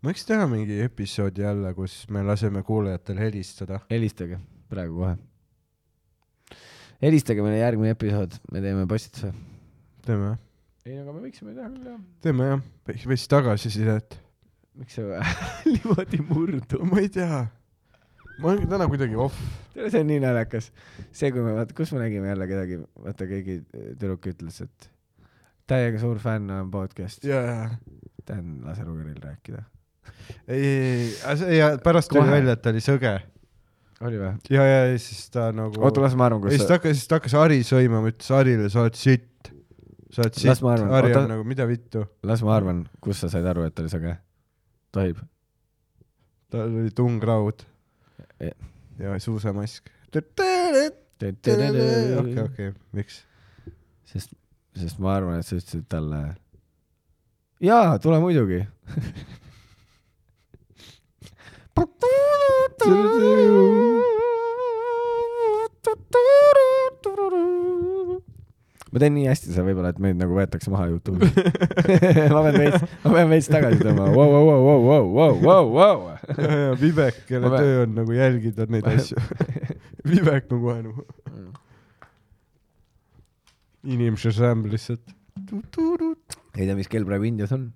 C: ma võiks teha mingi episoodi jälle , kus me laseme kuulajatel helistada .
D: helistage praegu kohe . helistage meile järgmine episood , me teeme postituse .
C: teeme jah ?
D: ei , aga me võiksime teha küll jah .
C: teeme jah , veits tagasisidet .
D: miks see [LAUGHS] niimoodi murdub ?
C: ma ei tea . ma olen täna kuidagi off .
D: tead , see on nii naljakas . see , kui me , vaata , kus me nägime jälle kedagi , vaata keegi tüdruk ütles , et täiega suur fänn on podcast'i .
C: ja , ja .
D: Dan lase Rugeril rääkida .
C: ei , ei , ei , ei , pärast tuli
D: Kohe.
C: välja , et ta oli sõge .
D: oli või ?
C: ja , ja , ja siis ta nagu .
D: oota , las ma arvan ,
C: ja siis
D: kus
C: ta
D: sa ,
C: hakkas , siis ta hakkas Hari sõimama , ütles Harile , sa oled sitt . sa oled
D: Las
C: sitt .
D: ma arvan,
C: Hari
D: oota-
C: on nagu , mida vittu .
D: las ma arvan , kus sa said aru , et ta oli sõge . tohib ?
C: tal oli tungraud
D: Ja.
C: ja suusamask . okei , okei , miks ?
D: sest , sest ma arvan , et sa ütlesid talle . jaa , tule muidugi . ma teen nii hästi seda võib-olla , et meid nagu võetakse maha Youtube'i . [LAUGHS] [LAUGHS] ma pean veits , ma pean veits tagasi tõmbama wow, . Wow, wow, wow, wow, wow, wow.
C: Vivek , kelle
D: Ma pean-
C: [LAUGHS]
D: Mm.
C: töö on nagu jälgida neid asju . Vivek on kohe nagu , inimese šämb lihtsalt .
D: ei tea , mis kell praegu Indias on .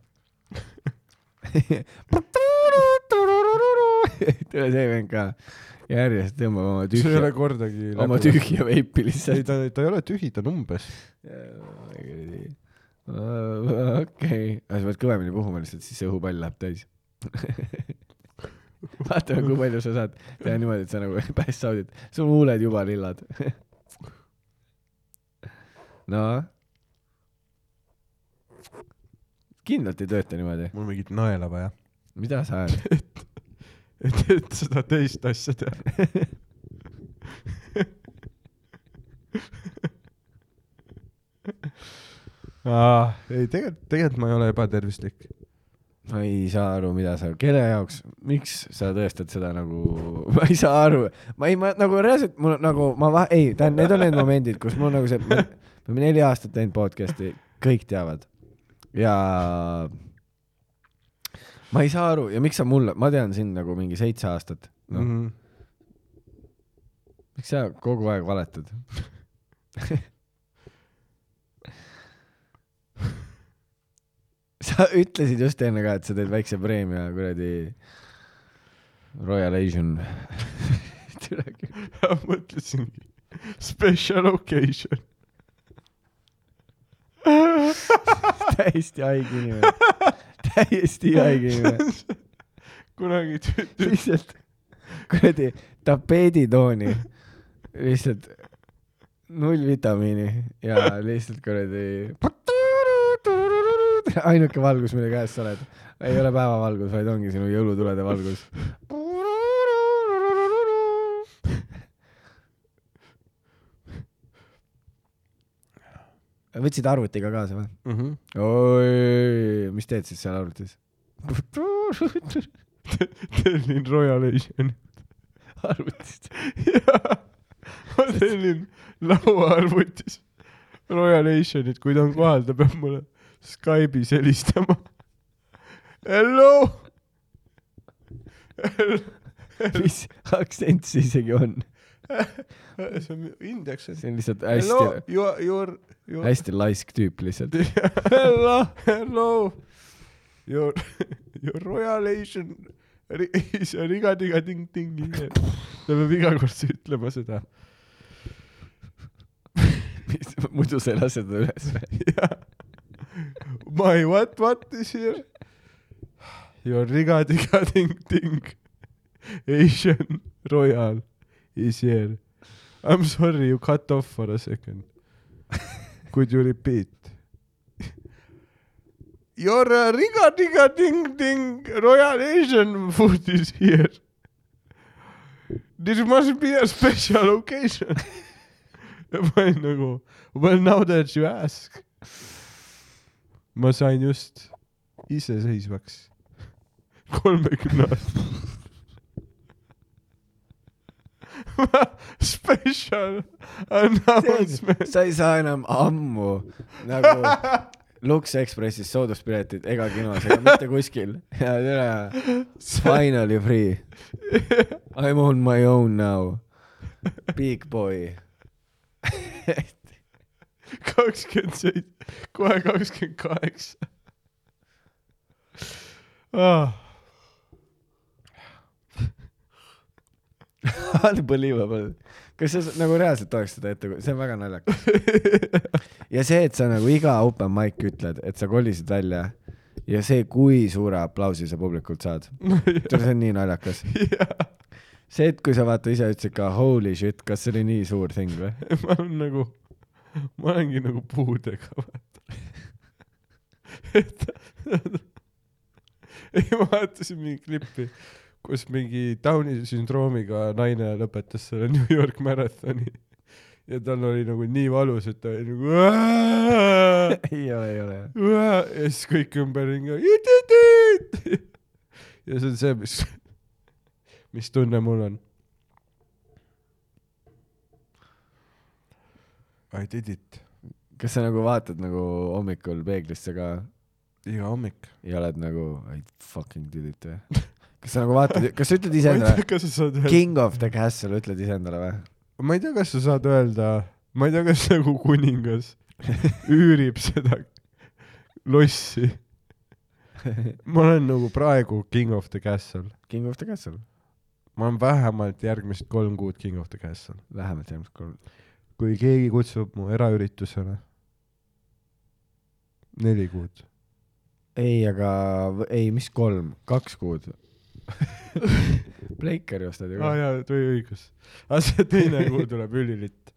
D: tule see vend ka järjest tõmbab oma
C: see ei
D: tühja
C: ole , kordagi .
D: oma . tühja veipi
C: ei ,
D: lihtsalt .
C: ta , ta ei ole tühi , ta on umbes .
D: okei , sa pead kõvemini puhuma lihtsalt , siis see õhupall läheb täis . vaatame , kui palju sa saad teha niimoodi , et sa nagu [LAUGHS] päris saudid , sul huuled juba lillad . no . kindlalt ei tööta niimoodi .
C: mul mingit naela vaja . [LAUGHS]
D: mida sa ajad ?
C: et , et seda teist asja teha . [LAUGHS] Ah, ei tegelikult , tegelikult ma ei ole ebatervislik .
D: ma ei saa aru , mida sa , kelle jaoks , miks sa tõestad seda nagu , [LAUGHS] ma ei saa aru , ma ei , ma nagu reaalselt mul nagu ma va- , ei , tähendab , need on need momendid , kus mul nagu see , me oleme neli aastat teinud podcast'i , kõik teavad ja ma ei saa aru ja miks sa mulle , ma tean sind nagu mingi seitse aastat ,
C: No.
D: noh ,
C: Mm -hmm.
D: miks sa kogu aeg valetad ? sa ütlesid just enne ka , et sa teed väikse preemia kuradi Royal Asian . [LAUGHS]
C: mõtlesingi , special occasion .
D: täiesti haige inimene , täiesti haige inimene ,
C: kunagi tüütu-
D: lihtsalt kuradi tapeeditooni , lihtsalt null vitamiini ja lihtsalt kuradi . ainuke valgus , mille käes sa oled , ei ole päevavalgus , vaid ongi sinu jõulutulede valgus . võtsid arvuti ka kaasa või ?
C: mm . -hmm.
D: oi , mis teed siis seal arvutis ?
C: tellin Royal Asian .
D: arvutist .
C: ma tellin lauaarvutis Royal Asianit , kui ta on kohal , ta peab mulle Skype'is helistama . Hello .
D: mis aktsent see isegi on ?
C: see on indeks .
D: see on lihtsalt
C: Hello
D: hästi ,,
C: you are , you are , you are .
D: hästi laisk tüüp lihtsalt . [LAUGHS]
C: Hello , hello . Your , your Royal Asian is a riga-tiga-ting-ting . ta peab iga kord ütlema seda .
D: [LAUGHS] muidu sa ei lase teda üles . [LAUGHS]
C: [LAUGHS] My what what is here ? Your riga diga ding ding Asian royal is here . I m sorry you cut off for a second . Could you repeat ? Your uh, riga diga ding ding royal Asian food is here . This must be a special [LAUGHS] occasion . ma olin nagu well now that you ask . ma sain just [LAUGHS] iseseisvaks kolmekümne aastaselt . [LAUGHS] Special [LAUGHS] announcement .
D: sa ei saa enam ammu nagu Lux Expressis sooduspiletid ega kinos ega mitte kuskil . ja tere , finally [LAUGHS] free . I m on my own now . Big boy . [LAUGHS]
C: kakskümmend seitse , kohe kakskümmend [LAUGHS] kaheksa . Ah. [LAUGHS]
D: Unbelievable . kas sa nagu reaalselt oleks seda ette , see on väga naljakas . ja see , et sa nagu iga open mic ütled , et sa kolisid välja ja see , kui suure aplausi sa publikult saad . see on nii naljakas . see , et kui sa vaata ise ütlesid ka holy shit , kas see oli nii suur thing või ?
C: [LAUGHS] ma olen nagu , ma olengi nagu puudega , vaata . [LAUGHS] et [LAUGHS] ei , ma vaatasin mingit klippi , kus mingi Downi sündroomiga naine lõpetas selle New York maratoni ja tal oli nagu nii valus , et ta oli nagu
D: ei ole , ei ole .
C: ja siis kõik ümberringi you did it [LAUGHS] ja see on see , mis , mis tunne mul on . I did it
D: kas sa nagu vaatad nagu hommikul peeglisse ka
C: iga hommik .
D: ja oled nagu I fucking did it või ? kas sa nagu vaatad , kas sa ütled
C: ma
D: ise
C: ei [LAUGHS]
D: endale
C: tea , kas sa saad öelda ,
D: king of the castle , ütled ise endale või ?
C: ma ei tea , kas sa saad öelda , ma ei tea , kas nagu kuningas üürib seda lossi . ma olen nagu praegu king of the castle .
D: King of the Castle ,
C: ma olen vähemalt järgmised kolm kuud king of the castle .
D: vähemalt järgmist korda .
C: kui keegi kutsub mu eraüritusele , neli kuud .
D: ei , aga , ei , mis kolm , kaks kuud . Breikeri ostad ju
C: aa ah,
D: ka .
C: jaa , tuli õigus . aga see teine kuu tuleb ülilitt .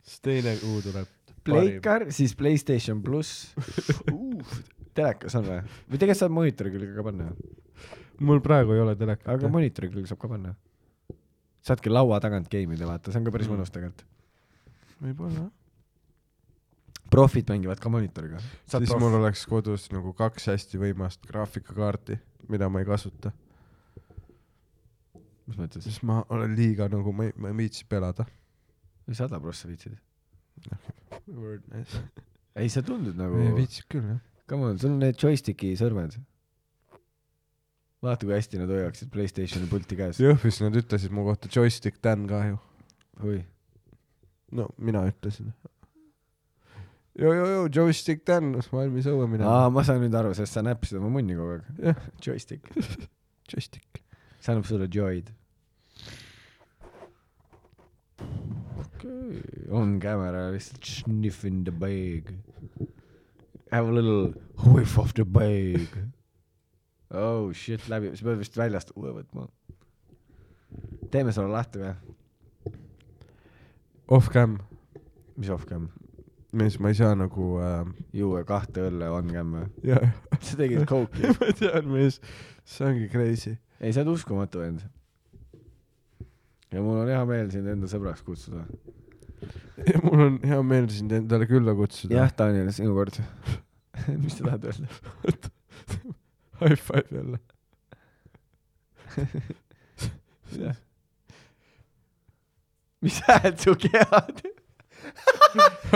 C: siis teine kuu tuleb .
D: Breikar , siis Playstation pluss uh, . telekas on või ? või tegelikult saab monitori külge ka panna ju .
C: mul praegu ei ole telekat .
D: aga monitori külge saab ka panna . saadki laua tagant game ida , vaata , see on ka päris
C: Mm.
D: mõnus tegelikult .
C: võib-olla .
D: profid mängivad ka monitoriga .
C: siis prof. mul oleks kodus nagu kaks hästi võimast graafikakaarti , mida ma ei kasuta ,
D: mis mõttes ?
C: sest ma olen liiga nagu , ma ei , ma ei viitsi pelada .
D: sada prossa viitsid ?
C: ei
D: ei , sa tundud nagu ,
C: viitsi küll jah .
D: come on , sul on need joystick'i sõrmed . vaata , kui hästi nad hoiaksid Playstationi pulti käes .
C: Jõhvis nad ütlesid mu kohta joystick Dan ka ju .
D: oi ,
C: no mina ütlesin . jojojoo , joystick Dan , valmis õue minema
D: aa ,. ma saan nüüd aru , sest sa näppisid oma munni kogu aeg .
C: jah ,
D: joystick .
C: joystick .
D: see annab sulle joy'd . okei okay. , on camera lihtsalt sniff in the bag . Have a little whiff of the bag . Oh shit , läbi , sa pead vist väljast uue võtma . teeme selle lahti või ?
C: Off-cam ,
D: mis off-cam ?
C: mis ma ei saa nagu äh, ,
D: juue kahte õlle on-cam või ?
C: jah ,
D: [LAUGHS] sa tegid kooki .
C: [LAUGHS]
D: [LAUGHS]
C: ma tean , mees , see ongi crazy .
D: ei , sa oled uskumatu vend . ja mul on hea meel sind enda sõbraks kutsuda .
C: ja mul on hea meel sind endale külla kutsuda
D: jah ,. Daniel , sinu kord . [LAUGHS] mis sa tahad öelda ?
C: High five jälle .
D: Jah. mis häält su keha teeb ?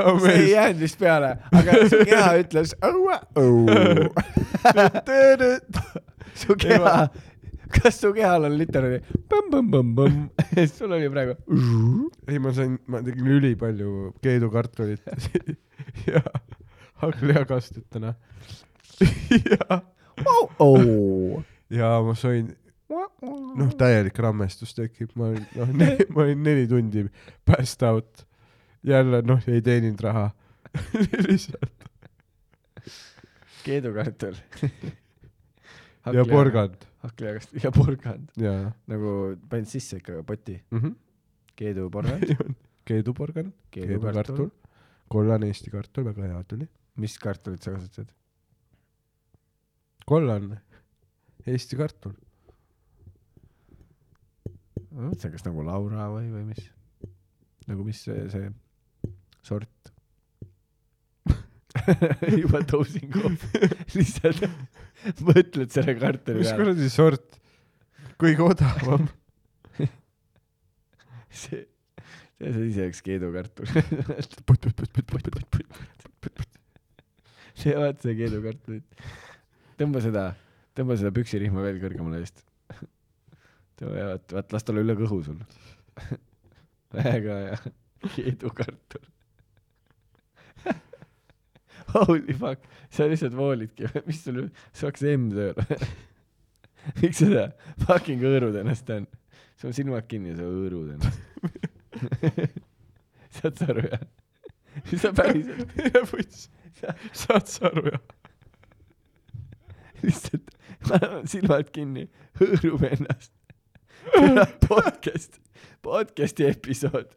C: Oh,
D: see ei
C: [LAUGHS]
D: jäänud vist peale , aga su keha ütles õue , õue . su keha , kas su kehal on literaali põmm-põmm-põmm-põmm , [LAUGHS] sul oli praegu .
C: ei , ma sain , ma tegin ülipalju keedukartulit [LAUGHS] ja hakklihakastet [LAUGHS] täna . ja , ja ma sõin , noh , täielik rammestus tekib , ma olin , noh , ma olin neli tundi passed out . jälle , noh , ei teeninud raha . [LAUGHS] lihtsalt
D: keedukartul .
C: [LAUGHS] ja . porgand
D: hakklihakast ja porgand ,
C: ja
D: nagu panid sisse ikka poti ,
C: mm [LAUGHS] -hmm.
D: keeduporgand ,
C: keeduporgand ,
D: keedukartul
C: keedukartul ,, kollane Eesti kartul , väga hea tuli .
D: mis kartulit sa kasutasid ?
C: kollane Eesti kartul .
D: ma mõtlesin , kas nagu Laura või , või mis , nagu mis see , see sort . juba tõusin kohvi , [LAUGHS] lihtsalt mõtled selle kartuli
C: mis
D: peale .
C: kuradi sort , kõige odavam .
D: [LAUGHS] see , see on ise üks keedukartul . see , vaata see keedukartul . tõmba seda , tõmba seda püksirihma veel kõrgemale vist . [LAUGHS] tõmba ja vaat , vaat las ta olla üle kõhu sul . [LAUGHS] väga hea , keedukartul . [LAUGHS] Holy fuck , sa lihtsalt voolidki , [LAUGHS] mis sul , sa oleks emm tööl . [LAUGHS] miks sa seda fucking hõõrud ennast täna ? sul on silmad kinni ja sa hõõrud ennast . saad sa aru jah ? sa päriselt .
C: saad sa aru
D: [LAUGHS]
C: jah ?
D: lihtsalt paneme silmad kinni , hõõrume ennast . podcast , podcast'i episood .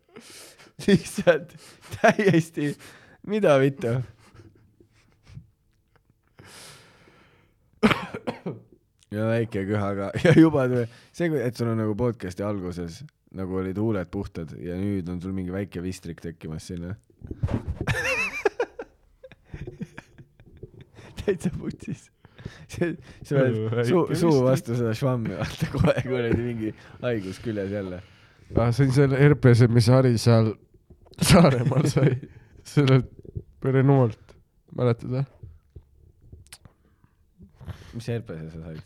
D: [LAUGHS] lihtsalt täiesti , mida vittu . ja väike köha ka [LAUGHS] ja juba tule- see , et sul on nagu podcast'i alguses nagu olid huuled puhtad ja nüüd on sul mingi väike vistrik tekkimas sinna . [LAUGHS] täitsa putsis . see , sa
C: Nagu Väike
D: oled suu , suu
C: vistrik.
D: vastu seda švammi , vaata kohe kuradi mingi haigus küljes jälle .
C: ah, . see on selle herpese , mis Hari seal Saaremaal sai , sellelt Renault , mäletad või ?
D: mis herpese sa said ?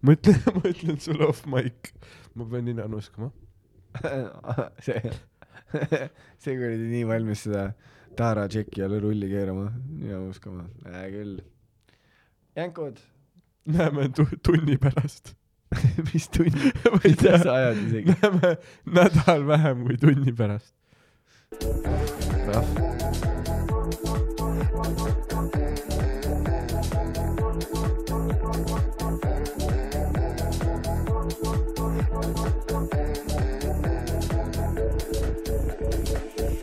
C: ma ütlen , [LAUGHS] ma ütlen sulle off mic , ma pean nina nuskama .
D: [LAUGHS] see , see kuradi nii valmis seda Tara tšeki all rulli keerama ja uskuma , hea küll . jänkud ,
C: näeme tu- tunni pärast .
D: [LAUGHS] mis tunni ,
C: ma ei
D: mida sa
C: tea ,
D: ajad isegi ?
C: näeme nädal vähem kui tunni pärast .
D: Prahv .